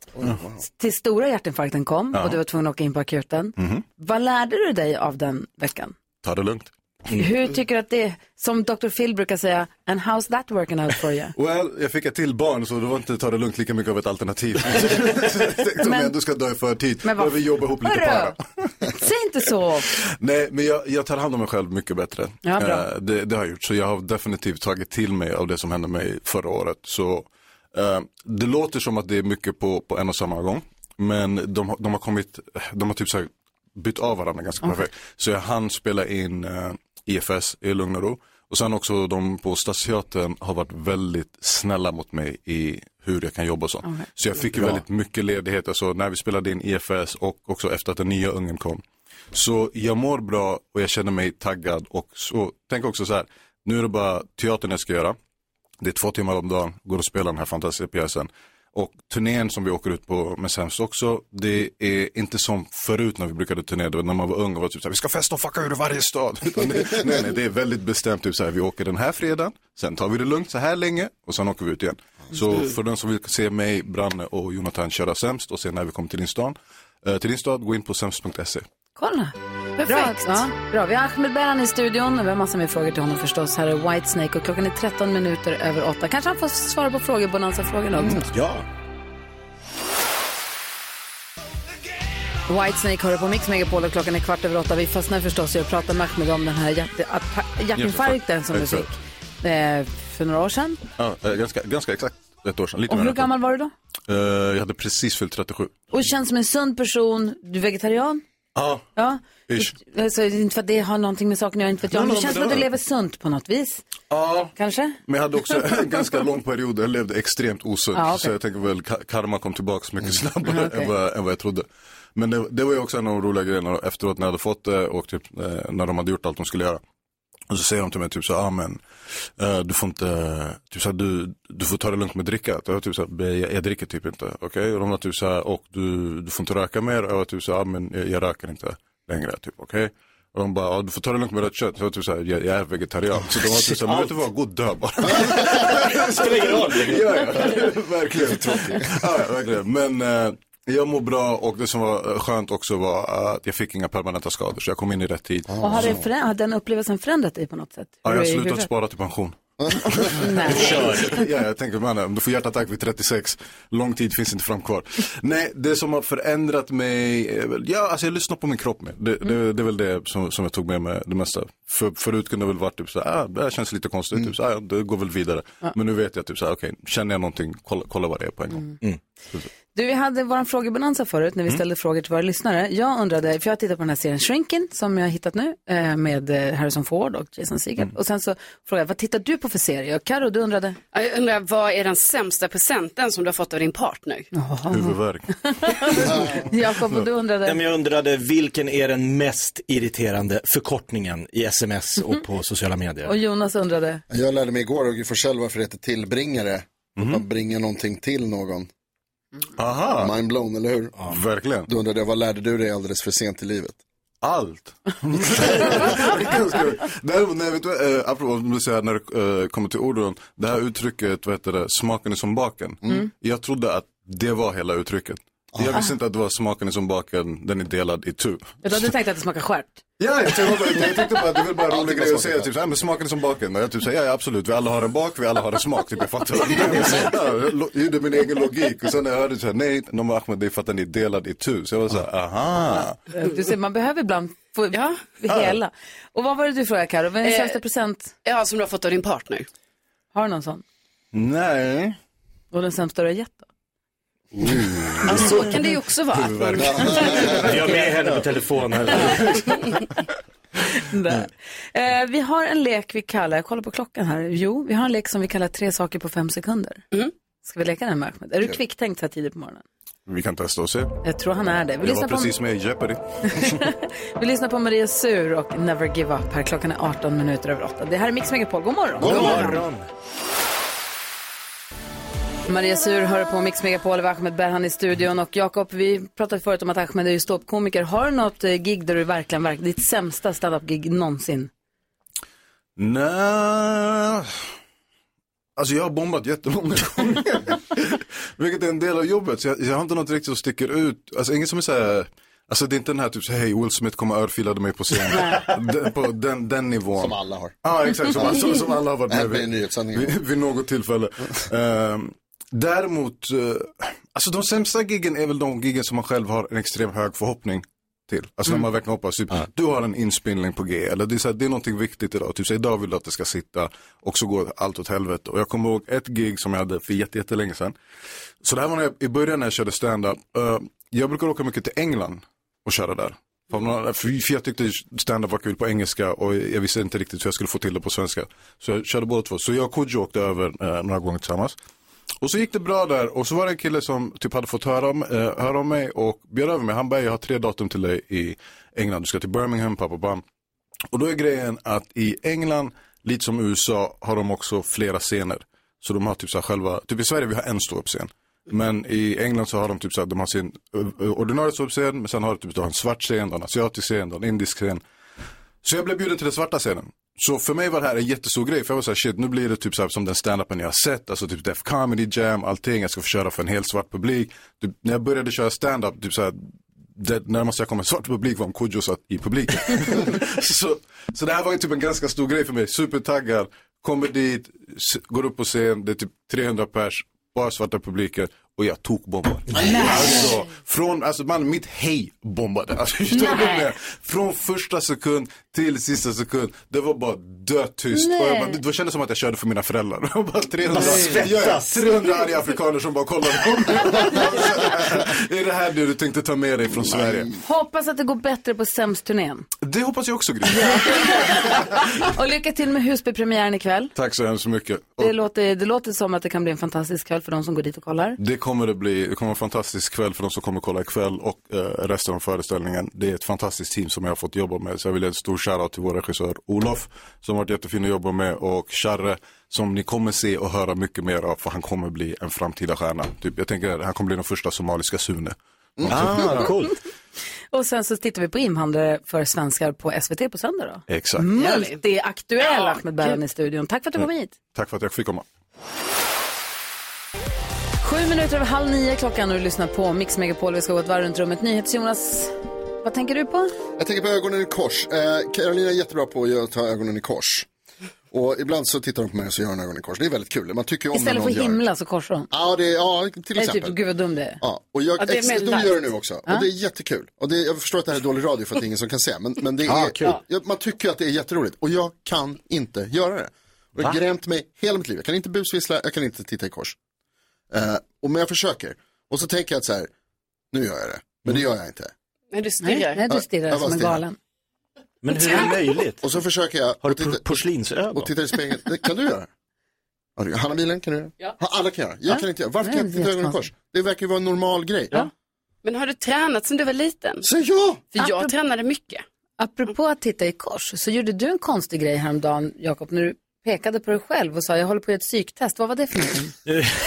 A: till stora hjärtinfarkten kom
E: Ja.
A: och du var tvungen att åka in på akuten.
E: Mhm.
A: Vad lärde du dig av den veckan?
E: Ta det lugnt.
A: Hur tycker du att det, som Dr. Phil brukar säga, and how's that working out for you?
E: Well, jag fick ett till barn så det var inte ta det lugnt lika mycket av ett alternativ. Så jag Tänkte om jag ändå ska dö i förtid,
A: Men vad-
E: behöver vi jobba ihop lite
A: Hörru!
E: para.
A: Säg inte så!
E: Nej, men jag, jag tar hand om mig själv mycket bättre.
A: Ja, bra.
E: Eh, det, det har jag gjort. Så jag har definitivt tagit till mig av det som hände mig förra året. Så eh, det låter som att det är mycket på, på en och samma gång. Men de, har- de har kommit, de har typ så här bytt av varandra ganska
G: Okej.
E: perfekt. Så jag hann spela in eh, EFS i lugn och ro. Och sen också de på Stadsteatern har varit väldigt snälla mot mig i hur jag kan jobba och sånt.
G: Okej.
E: Så jag fick ju
G: Bra.
E: väldigt mycket ledighet, alltså när vi spelade in EFS och också efter att den nya ungen kom. Så jag mår bra och jag känner mig taggad och så, tänk också så här, nu är det bara teatern jag ska göra. Det är två timmar om dagen, går och spelar den här fantastiska pjäsen. Och turnén som vi åker ut på med Sämst också, det är inte som förut när vi brukade turnera, det var när man var ung och var typ så här, vi ska festa och fucka ur varje stad. Utan det, nej, nej, det är väldigt bestämt, typ så här, vi åker den här fredagen, sen tar vi det lugnt så här länge och sen åker vi ut igen. Så för den som vill se mig, Branne och Jonathan köra Sämst och se när vi kommer till din stad, eh, till din stad, gå in på sämst.se.
A: Kolla. Perfekt. Bra. Ja, bra. Vi har Ahmed Berhan i studion och vi har massor med frågor till honom förstås. Här är Whitesnake och klockan är 13 minuter över 8. Kanske han får svara på frågor, Bonanza-frågorna också.
C: Ja.
A: Whitesnake hör på Mix Megapol och klockan är kvart över åtta. Vi fastnar förstås i att prata med Ahmed om den här hjärte, atta- hjärtinfarkten som du
E: Exakt.
A: fick eh, för några år sedan.
E: Ja, eh, ganska, ganska exakt ett år sedan, lite
A: Och
E: mer
A: hur
E: än ett år.
A: gammal var du då?
E: Eh, jag hade precis fyllt 37.
A: Och känns som en sund person. Du är vegetarian?
E: Ja,
A: Ja.
E: ish.
A: Alltså, inte för att det har någonting med saken att göra, inte för att jag.
E: Nej,
A: Men det
E: nej,
A: känns
E: men
A: som att
E: det
A: du
E: har-
A: lever sunt på något vis.
E: Ja.
A: Kanske?
E: Men jag hade också en ganska lång period där jag levde extremt osunt.
A: Ja, okej. Mm.
E: Så jag tänker väl ka- karma kom tillbaka mycket snabbare än, vad, jag- än vad jag trodde. Men det, det var ju också en av de roliga grejerna efteråt när jag hade fått det och typ, eh, när de hade gjort allt de skulle göra. Och så säger de till mig typ så här, ah, men eh, du får inte, typ så här, du, du får ta det lugnt med dricka. Jag var typ så här, "Be- jag, jag dricker typ inte, okej? Och de var typ så här, och du, du får inte röka mer. Och jag var typ så här, ah, men jag, jag röker inte längre, typ okej? Och de bara, ah, du får ta det lugnt med rött kött. Så jag var typ så här, jag, jag är vegetarian. Så de var typ så här, men vet du vad, gå och dö bara.
C: Spelar ingen roll.
E: Ja, ja, verkligen. Ja, ja, verkligen. Men eh, jag mår bra och det som var eh, skönt också var att jag fick inga permanenta skador så jag kom in i rätt tid.
A: Och har,
E: Så-
A: det förä- har den upplevelsen förändrat dig på något sätt?
E: ja,
A: Hur
E: jag har
A: är- hur-
E: slutat spara till pension.
A: Nej.
E: Kör. Ja, jag tänker man, du får hjärtattack vid 36. Lång tid finns inte fram kvar. Nej, det som har förändrat mig, är väl- ja, alltså jag lyssnar på min kropp mer. Det,
A: Mm.
E: det, det är väl det som, som jag tog med mig det mesta. För, förut kunde det väl varit typ så här, ah, det här känns lite konstigt,
A: Mm.
E: typ så här, ah, det går väl vidare. Men nu vet jag typ så här, okej, känner jag någonting, kolla, kolla vad det är på en
A: Mm.
E: gång.
A: Du, vi hade vår frågebonanza förut
E: Mm.
A: när vi ställde frågor till våra lyssnare. Jag undrade, för jag tittar på den här serien Shrinking som jag har hittat nu eh, med eh, Harrison Ford och Jason Segel.
E: Mm.
A: Och sen så frågade jag, vad tittar du på för serier? Och Karo, du undrade?
D: Ja, Jag undrar, vad är den sämsta presenten som du har fått av din partner?
E: Huvudvärk.
A: Jakob, och du undrade?
C: Ja, men jag undrade vilken är den mest irriterande förkortningen i sms och
A: Mhm.
C: på sociala medier?
A: Och Jonas undrade?
B: Jag lärde mig igår och får själv varför det heter tillbringare.
E: Mhm.
B: Att man bringar någonting till någon.
E: Mm. Aha.
B: Mind blown, eller hur?
E: verkligen.
B: Då undrade jag, vad lärde du dig alldeles för sent i livet?
E: Allt. Däremot, nej, vet du, eh, apropå om du säger när det eh, kommer till orden, det här uttrycket, vad heter det, smaken är som baken.
L: Mm.
E: Jag trodde att det var hela uttrycket. Jag visste inte att det var smaken är som baken, den är delad i tu.
A: Jag hade tänkt att det smakar stjärt.
E: Ja, jag tänkte bara, jag tänkte bara att det är väl bara en rolig grej att
B: smakar
E: säga, typ så här, men smaken är som baken. Och jag typ säger, ja, ja absolut, vi alla har en bak, vi alla har en smak, typ jag fattar. Ja, Jag gjorde min egen logik och sen när jag hörde så här, nej, de var Ahmed, det är för att den är delad i tu. Så jag var så här, aha.
A: Eh, Du ser, man behöver ibland få hela. Och vad var det du frågade Karo? Vad är den
D: Eh,
A: sämsta present?
D: Ja, som du har fått av din partner.
A: Har du någon sån?
E: Nej.
A: Och den sämsta du har gett då?
D: Ja, så
A: Mm.
D: kan det ju också vara.
C: Jag är med henne på telefon här.
A: Där. Eh, vi har en lek vi kallar, jag kollar på klockan här, jo, vi har en lek som vi kallar tre saker på fem sekunder.
E: Mm.
A: Ska vi leka den med Ahmed? Är du
E: Kul.
A: kvicktänkt så här tidigt på morgonen?
E: Vi kan testa och se.
A: Jag tror han är det. Vi
E: Jag var
A: lyssnar, på,
E: precis med i Jeopardy.
A: vi lyssnar på Maria Sur och Never Give Up här. Klockan är 18 minuter över 8. Det här är Mix Megapol. God morgon! Maria Sur hör på Mix Megapol och Ahmed Berhan i studion. Och Jakob, vi pratade förut om att Ahmed är ju ståuppkomiker. Har du något eh, gig där du verkligen, verkligen ditt sämsta standup-gig någonsin?
E: Nej. Alltså jag har bombat jättemånga gånger. Vilket är en del av jobbet. Så jag, jag har inte något riktigt som sticker ut. Alltså inget som är så här. Alltså det är inte den här typ så här, hej Will Smith kom och örfilade mig på scen. den, på den, den nivån.
B: Som alla har.
E: Ja exakt, som, som, som alla har varit
B: Det här
E: med
B: blir en
E: vid,
B: nyhetssändning.
E: vid, vid något tillfälle. Ehm, däremot, eh, alltså de sämsta giggen är väl de giggen som man själv har en extrem hög förhoppning till. Alltså
B: Mm.
E: när man verkligen hoppas, typ, du har en inspelning på G, eller det är, så här, det är någonting viktigt idag, typ så här, idag vill du att det ska sitta och så går allt åt helvete. Och jag kommer ihåg ett gig som jag hade för jätte- jättelänge sedan. Så det här var när jag, i början när jag körde stand-up. Eh, jag brukar åka mycket till England och köra där. För, av någon- för för jag tyckte stand-up var kul på engelska och jag visste inte riktigt hur jag skulle få till det på svenska. Så jag körde båda två. Så jag och Kodjo åkte över eh, några gånger tillsammans. Och så gick det bra där och så var det en kille som typ hade fått höra om, eh, höra om mig och bjöd över mig. Han bara, jag har tre datum till dig i England. Du ska till Birmingham, pappa, bam. Och då är grejen att i England, lite som USA, har de också flera scener. Så de har typ så här själva, typ i Sverige vi har en ståuppscen. Men i England så har de typ så här, de har sin eh, ordinarie ståuppscen, men sen har de typ, de har en svart scen, de har en asiatisk scen, de har en indisk scen. Så jag blev bjuden till den svarta scenen. Så för mig var det här en jättestor grej, för jag var såhär shit, nu blir det typ så här som den standupen jag har sett, alltså typ Def Comedy Jam, allting, jag ska få köra för en helt svart publik. Typ, när jag började köra standup, typ såhär, det närmaste jag kom en svart publik var om Kodjo satt i publiken. så, så det här var ju typ en ganska stor grej för mig, supertaggad, kommer dit, s- går upp på scen, det är typ 300 pers, bara svarta publiker och jag tokbombar. Alltså, från, alltså man, mitt hej bombade. Alltså, förstår du vad jag menar? från första sekund till sista sekund, det var bara dötyst.
L: Nej.
E: Och jag bara, det, det kändes som att jag körde för mina föräldrar. Jag bara 300,
L: Bara svettas.
E: 300 arga afrikaner som bara kollade på mig. Är det här det du tänkte ta med dig från Sverige?
A: Hoppas att det går bättre på sämst-turnén.
E: Det hoppas jag också Gry.
A: Och lycka till med Husbypremiären ikväll.
E: Tack så hemskt mycket. Och
A: Det låter, det låter som att det kan bli en fantastisk kväll för de som går dit och kollar.
E: det kommer det bli. Det kommer en fantastisk kväll för de som kommer kolla ikväll och eh, resten av föreställningen. Det är ett fantastiskt team som jag har fått jobba med. Så jag vill ge en stor shoutout till vår regissör Olof som har varit jättefin att jobba med och Charre som ni kommer se och höra mycket mer av för han kommer bli en framtida stjärna. Typ, jag tänker han kommer bli den första somaliska Sune.
B: Mm.
A: Ah,
E: coolt.
A: Och sen så tittar vi på invandrare för svenskar på SVT på söndag då.
E: Exakt.
A: Multiaktuell Ahmed Berhan i studion. Tack för att du kom
E: Mm.
A: hit.
E: Tack för att jag fick komma.
A: Sju minuter över halv nio klockan och du lyssnar på Mix Megapol. Vi ska gå ett varv runt rummet. NyhetsJonas, vad tänker du på?
B: Jag tänker på ögonen i kors. Eh, Carolina är jättebra på att göra- ta ögonen i kors. Och ibland så tittar de på mig och så gör de ögonen i kors. Det är väldigt kul. Man tycker ju om
A: Istället
B: när
A: för
B: någon gör.
A: himla så korsar de.
B: Ja, det, ja till
A: Nej, typ,
B: exempel.
A: gud vad dum det är.
B: Ja, och jag,
A: Ja, det är
B: ex,
A: mer
B: de
A: nice.
B: gör det nu också.
A: Ja.
B: Och det är jättekul. Och det, jag förstår att det här är dålig radio för att det är ingen som kan se. Men, men det är,
C: Ja, kul.
B: ja, man tycker ju att det är jätteroligt. Och jag kan inte göra det. Och jag
C: Va?
B: har grämt mig hela mitt liv. Jag kan inte busvissla, jag kan inte titta i kors. Eh, och men jag försöker. Och så tänker jag att så här, nu gör jag det. Men det
C: Mm.
B: gör jag inte.
D: Nej, du stirrar.
A: Nej, du stirrar
B: Jag bara
A: som en
B: stirrar.
A: galen.
C: Men hur är det möjligt?
B: Och så försöker jag. Har du
C: porslinsögon?
B: Och tittar i spegeln. Det kan du göra. Har du- Hanna Milen kan du göra.
D: Ja.
B: Ha, alla kan göra. Jag
D: Ja.
B: kan inte göra. Varför
D: Nej,
B: kan jag inte
D: det är
B: titta i ögonen i kors?
D: jättekonstigt.
B: Det verkar ju vara en normal grej.
D: Men har du tränat sedan du var liten?
B: Så ja!
D: För jag
A: Apropå-
D: tränade mycket.
A: Apropå att titta i kors så gjorde du en konstig grej häromdagen, Jakob, när du pekade på dig själv och sa jag håller på att göra ett psyktest. Vad var det för någonting?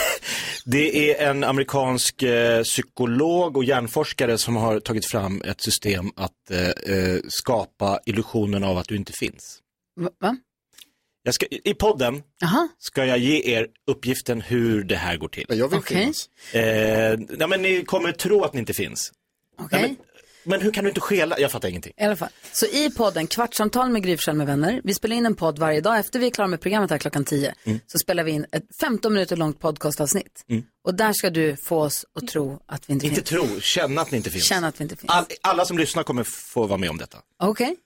C: Det är en amerikansk eh, psykolog och hjärnforskare som har tagit fram ett system att eh, eh, skapa illusionen av att du inte finns.
A: Va- Va?
C: Jag ska, I podden
A: Jaha.
C: ska jag ge er uppgiften hur det här går till.
B: Jag
A: vill Okej. finnas.
C: Eh, nej, men ni kommer tro att ni inte finns.
A: Okej.
C: Nej, men, men hur kan du inte skela? Jag fattar ingenting.
A: I alla fall. Så i podden Kvartsamtal med Gry Forssell med vänner. Vi spelar in en podd varje dag. Efter vi är klara med programmet här klockan 10
C: Mm.
A: så spelar vi in ett 15 minuter långt podcastavsnitt.
C: Mm.
A: Och där ska du få oss att tro att vi inte,
C: Inte
A: finns.
C: tro, känna att ni inte finns.
A: Känna att vi inte finns.
C: All, alla som lyssnar kommer få vara med om detta.
A: Okej.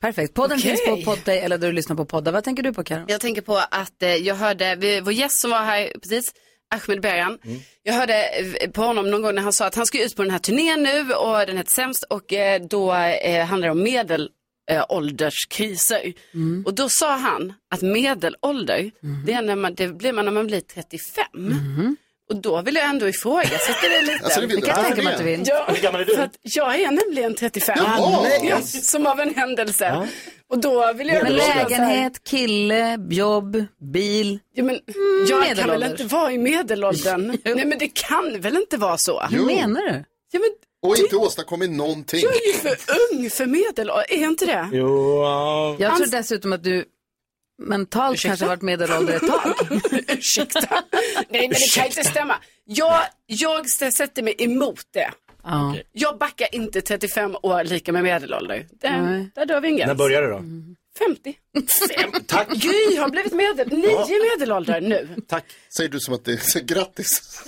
A: Perfekt. Podden
D: Okej.
A: finns på Podplay eller där du lyssnar på poddar. Vad tänker du på Karo?
D: Jag tänker på att eh, jag hörde, vi- vår gäst som var här precis, Ahmed Bergan. Jag hörde eh, på honom någon gång när han sa att han ska ut på den här turnén nu och den heter Sämst och eh, då eh, handlar det om medelålderskriser.
A: Mm.
D: Och då sa han att medelålder, det, är när man, det blir man när man blir 35. Och då vill jag ändå ifrågasätta det lite.
A: Mm. Alltså, det vill Det kan du. jag tänka mig att du vill.
D: Ja,
A: Hur gammal är du?
D: För att jag är nämligen 35.
A: Jaha.
D: Ja, som av en händelse. Och då vill jag
A: Men
D: ändå känna så här-
A: lägenhet, kille, jobb, bil.
D: Ja, men jag kan väl inte vara i medelåldern? Nej men det kan väl inte vara så?
A: Hur menar du?
D: Ja, men
B: Och inte åstadkommit någonting.
D: jag är ju för ung för medelåldern, är jag inte det?
C: Jo,
A: Jag tror dessutom att du mentalt kanske varit medelålder ett tag.
D: Ursäkta. Nej men det kan inte stämma. Jag, jag s- sätter mig emot det.
A: Ja.
D: Jag backar inte 35 år lika med medelålder. Där,
A: Nej.
D: där drar vi en gräns.
C: När börjar det då?
D: 50. Tack. Gry har blivit medel... Ni är medelåldern nu.
C: Tack.
B: Säger du som att det är så, grattis.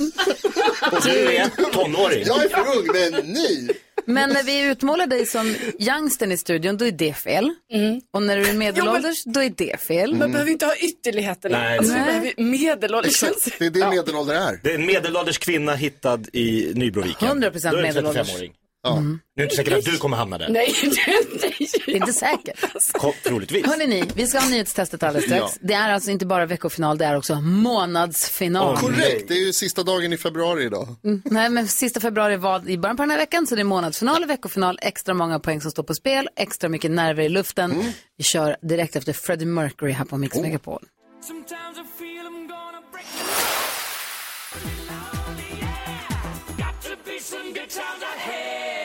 C: Och du är tonåring.
B: Jag är för ung, men ni.
A: Men när vi utmålar dig som youngstern i studion, då är det fel.
D: Mm.
A: Och när du är medelålders, då är det fel.
D: Man behöver inte ha ytterligheterna.
C: Nej,
D: alltså,
C: nej.
D: man behöver medelålder.
B: Det är det medelålder är.
C: Det är en medelålders kvinna hittad i Nybroviken.
A: 100%
C: Då är det en
A: medelålders.
C: 35-åring. Nu är det inte säkert att du kommer hamna där.
D: Nej, det är inte
A: Det är inte säkert.
C: Kom, troligtvis.
A: Hörrni ni, vi ska ha nyhetstestet alldeles strax. Det är alltså inte bara veckofinal, det är också månadsfinal.
B: Korrekt, det är ju sista dagen i februari idag.
A: Mm, Nej, men sista februari var i början på den här veckan, så det är månadsfinal, veckofinal, extra många poäng som står på spel, extra mycket nerver i luften. Vi kör direkt efter Freddie Mercury här på Mix Megapol.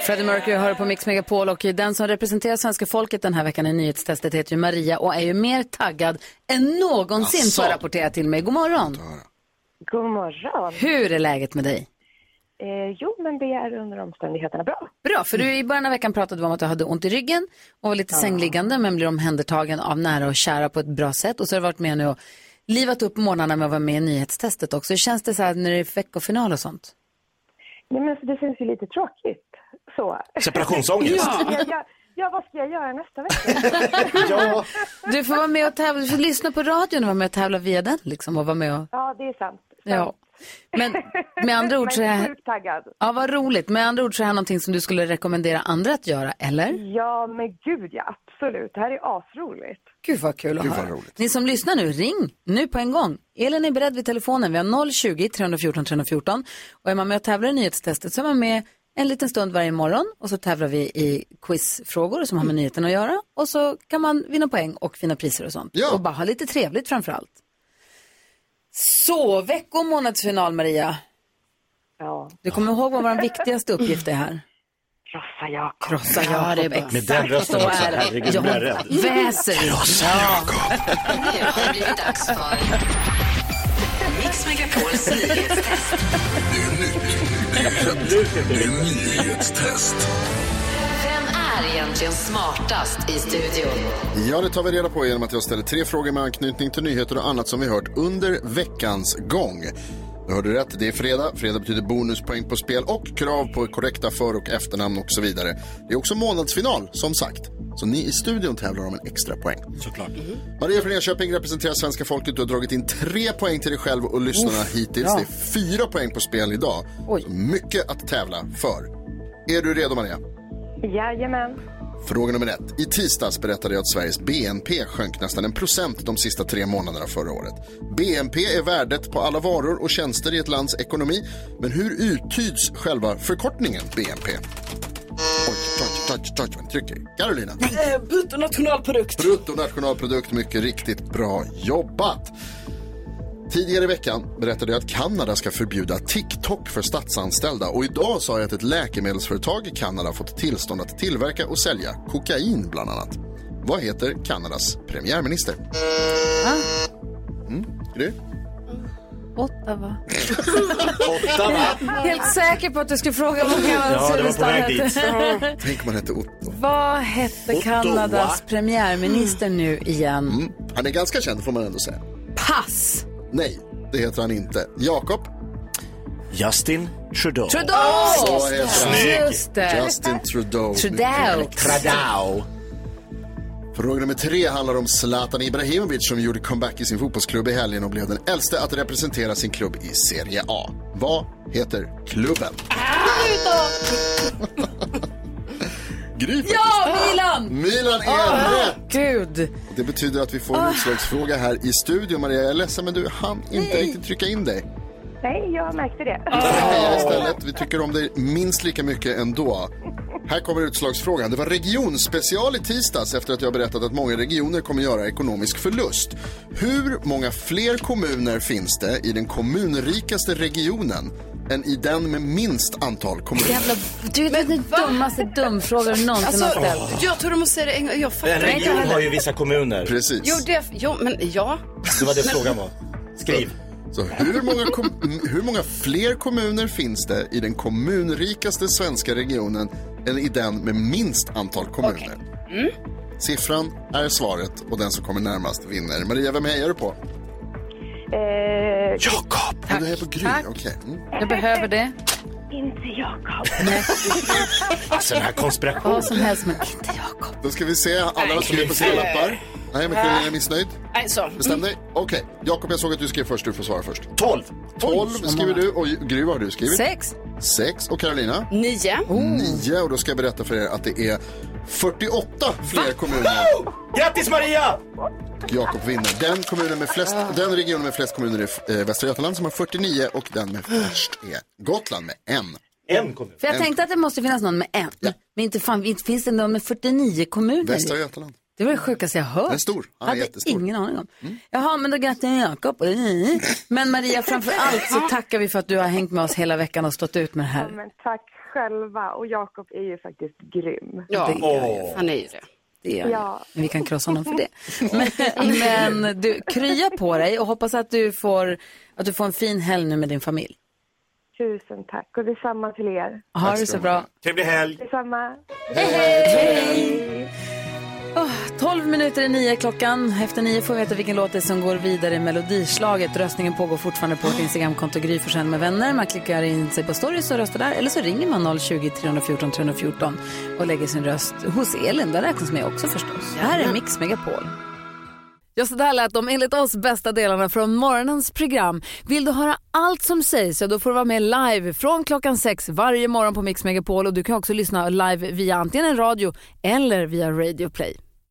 A: Freddie Mercury hör på Mix Megapol och den som representerar svenska folket den här veckan i nyhetstestet heter ju Maria och är ju mer taggad än någonsin
G: Asså.
A: för att rapportera till mig. God morgon!
G: God morgon.
A: Hur är läget med dig?
G: Eh, jo, men det är under omständigheterna bra.
A: Bra, för du i början av veckan pratade du om att du hade ont i ryggen och var lite sängliggande men blev omhändertagen av nära och kära på ett bra sätt. Och så har du varit med nu och livat upp morgnarna med att vara med i nyhetstestet också. Hur känns det så här när det är veckofinal och sånt?
G: Nej, men alltså, det känns ju lite tråkigt. Så.
A: Separationsångest.
G: ja. Jag, jag, ja, vad ska jag göra nästa vecka?
A: Du får vara med och tävla, du får lyssna på radion och vara med och tävla via den liksom och vara med och...
G: ja, det är sant.
A: Ja. Men med andra ord så
G: Men
A: är...
G: sjukt taggad.
A: Ja, vad roligt. Med andra ord så är det här någonting som du skulle rekommendera andra att göra, eller?
G: Ja, men gud ja, absolut. Det här är asroligt.
A: Gud vad kul att
G: Gud, vad
A: höra. Ni som lyssnar nu, ring nu på en gång. Elin är beredd vid telefonen. Vi har 020 314 314. Och är man med och tävlar i nyhetstestet så är man med en liten stund varje morgon och så tävlar vi i quizfrågor som har med nyheten att göra. Och så kan man vinna poäng och fina priser och sånt. Och bara ha lite trevligt framför allt. Så, vecko och månadsfinal Maria.
G: Ja.
A: Du kommer ihåg vad vår viktigaste uppgift är här?
G: Krossa Jakob.
A: Krossa Jakob, exakt.
C: Med den rösten
A: så
C: också,
A: är det.
C: herregud, jag blir rädd.
A: Väser. Ja.
K: Nu har det blivit dags för Mix Megapols nyhetstest.
E: Det är nytt, det är hett, det är nyhetstest.
K: Vem är egentligen smartast i studion?
B: Ja, det tar vi reda på genom att jag ställer tre frågor med anknytning till nyheter och annat som vi hört under veckans gång. Du hörde rätt, det är fredag. Fredag betyder bonuspoäng på spel och krav på korrekta för och efternamn och så vidare. Det är också månadsfinal, som sagt. Så ni i studion tävlar om en extra poäng. Mm-hmm.
C: Såklart.
B: Maria från Enköping representerar svenska folket. Du har dragit in tre poäng till dig själv och lyssnarna
A: Uff,
B: hittills.
A: bra.
B: Det är fyra poäng på spel idag. Så mycket att tävla för. Är du redo, Maria?
G: Jajamän.
B: Fråga nummer ett. I tisdags berättade jag att Sveriges BNP sjönk nästan en procent de sista tre månaderna förra året. BNP är värdet på alla varor och tjänster i ett lands ekonomi. Men hur uttyds själva förkortningen BNP? Oj, touch, touch, touch, vad ni trycker. Carolina.
A: Eh, Bruttonationalprodukt.
B: Bruttonationalprodukt, mycket riktigt bra jobbat. Tidigare i veckan berättade jag att Kanada ska förbjuda TikTok för statsanställda och idag sa jag att ett läkemedelsföretag i Kanada fått tillstånd att tillverka och sälja kokain bland annat. Vad heter Kanadas premiärminister? Mm, Gry?
A: Ottawa.
B: Ottawa.
A: Helt säker på att du skulle fråga vad
B: Ja, det var på
A: Kanada
B: väg
A: hette.
B: Tänk om han hette Otto.
A: Vad hette Kanadas premiärminister nu igen?
B: Mm, han är ganska känd får man ändå säga.
A: Pass!
B: Nej, det heter han inte. Jakob?
C: Justin Trudeau.
A: Trudeau!
B: Så heter han.
A: Snygg! Just det.
B: Justin Trudeau.
A: Trudeau.
B: Mycket riktigt.
A: Trudeau.
B: Fråga nummer tre handlar om Zlatan Ibrahimovic som gjorde comeback i sin fotbollsklubb i helgen och blev den äldste att representera sin klubb i Serie A. Vad heter klubben? Gry faktiskt.
A: Ja, Milan!
B: Milan är
A: Åh,
B: rätt!
A: Gud!
B: Det betyder att vi får en
A: Ah.
B: utslagsfråga här i studion. Maria, jag är ledsen men du hann inte
G: Nej.
B: riktigt trycka in dig.
G: Nej, jag märkte det.
B: Heja istället. Vi tycker om dig minst lika mycket ändå. Här kommer utslagsfrågan. Det var regionspecial i tisdags efter att jag berättat att många regioner kommer göra ekonomisk förlust. Hur många fler kommuner finns det i den kommunrikaste regionen än i den med minst antal kommuner?
A: Jävla, du vet den dummaste dumfrågan du någonsin har
D: Alltså,
A: ställt.
D: jag tror du måste säga det en gång. Jag fattar
C: En
D: inte
C: region
D: heller.
C: har ju vissa kommuner.
B: Precis.
D: Jo, det, jo, men ja.
C: Det var det frågan var. Skriv.
B: Så hur många, kom- hur många fler kommuner finns det i den kommunrikaste svenska regionen än i den med minst antal kommuner?
A: Mm.
B: Siffran är svaret och den som kommer närmast vinner. Maria, vem hejar du på?
G: Eh,
B: Jakob! Du hejar på Gry, okej. Mm.
A: Jag behöver det.
G: Inte jag.
C: Alltså den här konspirationen.
A: Vad som helst, men inte
B: Då ska vi se alla
A: Nej.
B: vad som är på sina
A: Nej.
B: lappar. Nej, men Karolina
D: Äh.
B: är missnöjd.
D: Nej, så.
B: Bestäm dig. Okej, Jakob jag såg att du skrev först, du får svara först.
C: 12.
B: 12
D: Oj, så
B: skriver
D: många.
B: du och Gry vad har du skrivit?
A: Sex.
B: 6 och Karolina?
D: Nio.
B: Nio och då ska jag berätta för er att det är 48 fler kommuner.
C: Grattis Maria!
B: Jakob vinner. Den, kommunen med flest,
A: Ah.
B: den regionen med flest kommuner är eh, Västra Götaland som har 49 och den med först är Gotland med en.
C: En kommun?
A: För jag tänkte att det måste finnas någon med en. Men inte, fan, inte finns det någon med 49 kommuner?
B: Västra Götaland.
A: Det var det sjukaste jag hört.
B: Den är stor. Han är
A: hade
B: jättestor. Mm.
A: ingen aning om. Jaha, men då grattar jag Jakob. Mm. Men Maria, framför allt så tackar vi för att du har hängt med oss hela veckan och stått ut med det
G: Ja,
A: här.
G: men tack själva. Och Jakob är ju faktiskt grym.
A: Ja, Det är han ju.
D: han är ju det.
A: Det är
G: Ja.
A: ja. Men vi kan krossa honom för det. Men, men du, krya på dig och hoppas att du, får, att du får en fin helg nu med din familj.
G: Tusen tack. Och detsamma till er.
A: Ha det så bra.
C: Trevlig helg.
G: Detsamma.
A: Hej! Oh, 12 minuter i nio klockan. Efter nio får vi veta vilken låt det är som går vidare i melodislaget. Röstningen pågår fortfarande på vårt Instagramkonto Gry Forssell med vänner. Man klickar in sig på stories och röstar där. Eller så ringer man 020 314 314 och lägger sin röst hos Elin. Det räknas med också förstås. Det här är Mix Megapol. Ja, så där lät de enligt oss bästa delarna från morgonens program. Vill du höra allt som sägs så då får du vara med live från klockan sex varje morgon på Mix Megapol och du kan också lyssna live via antingen en radio eller via Radio Play.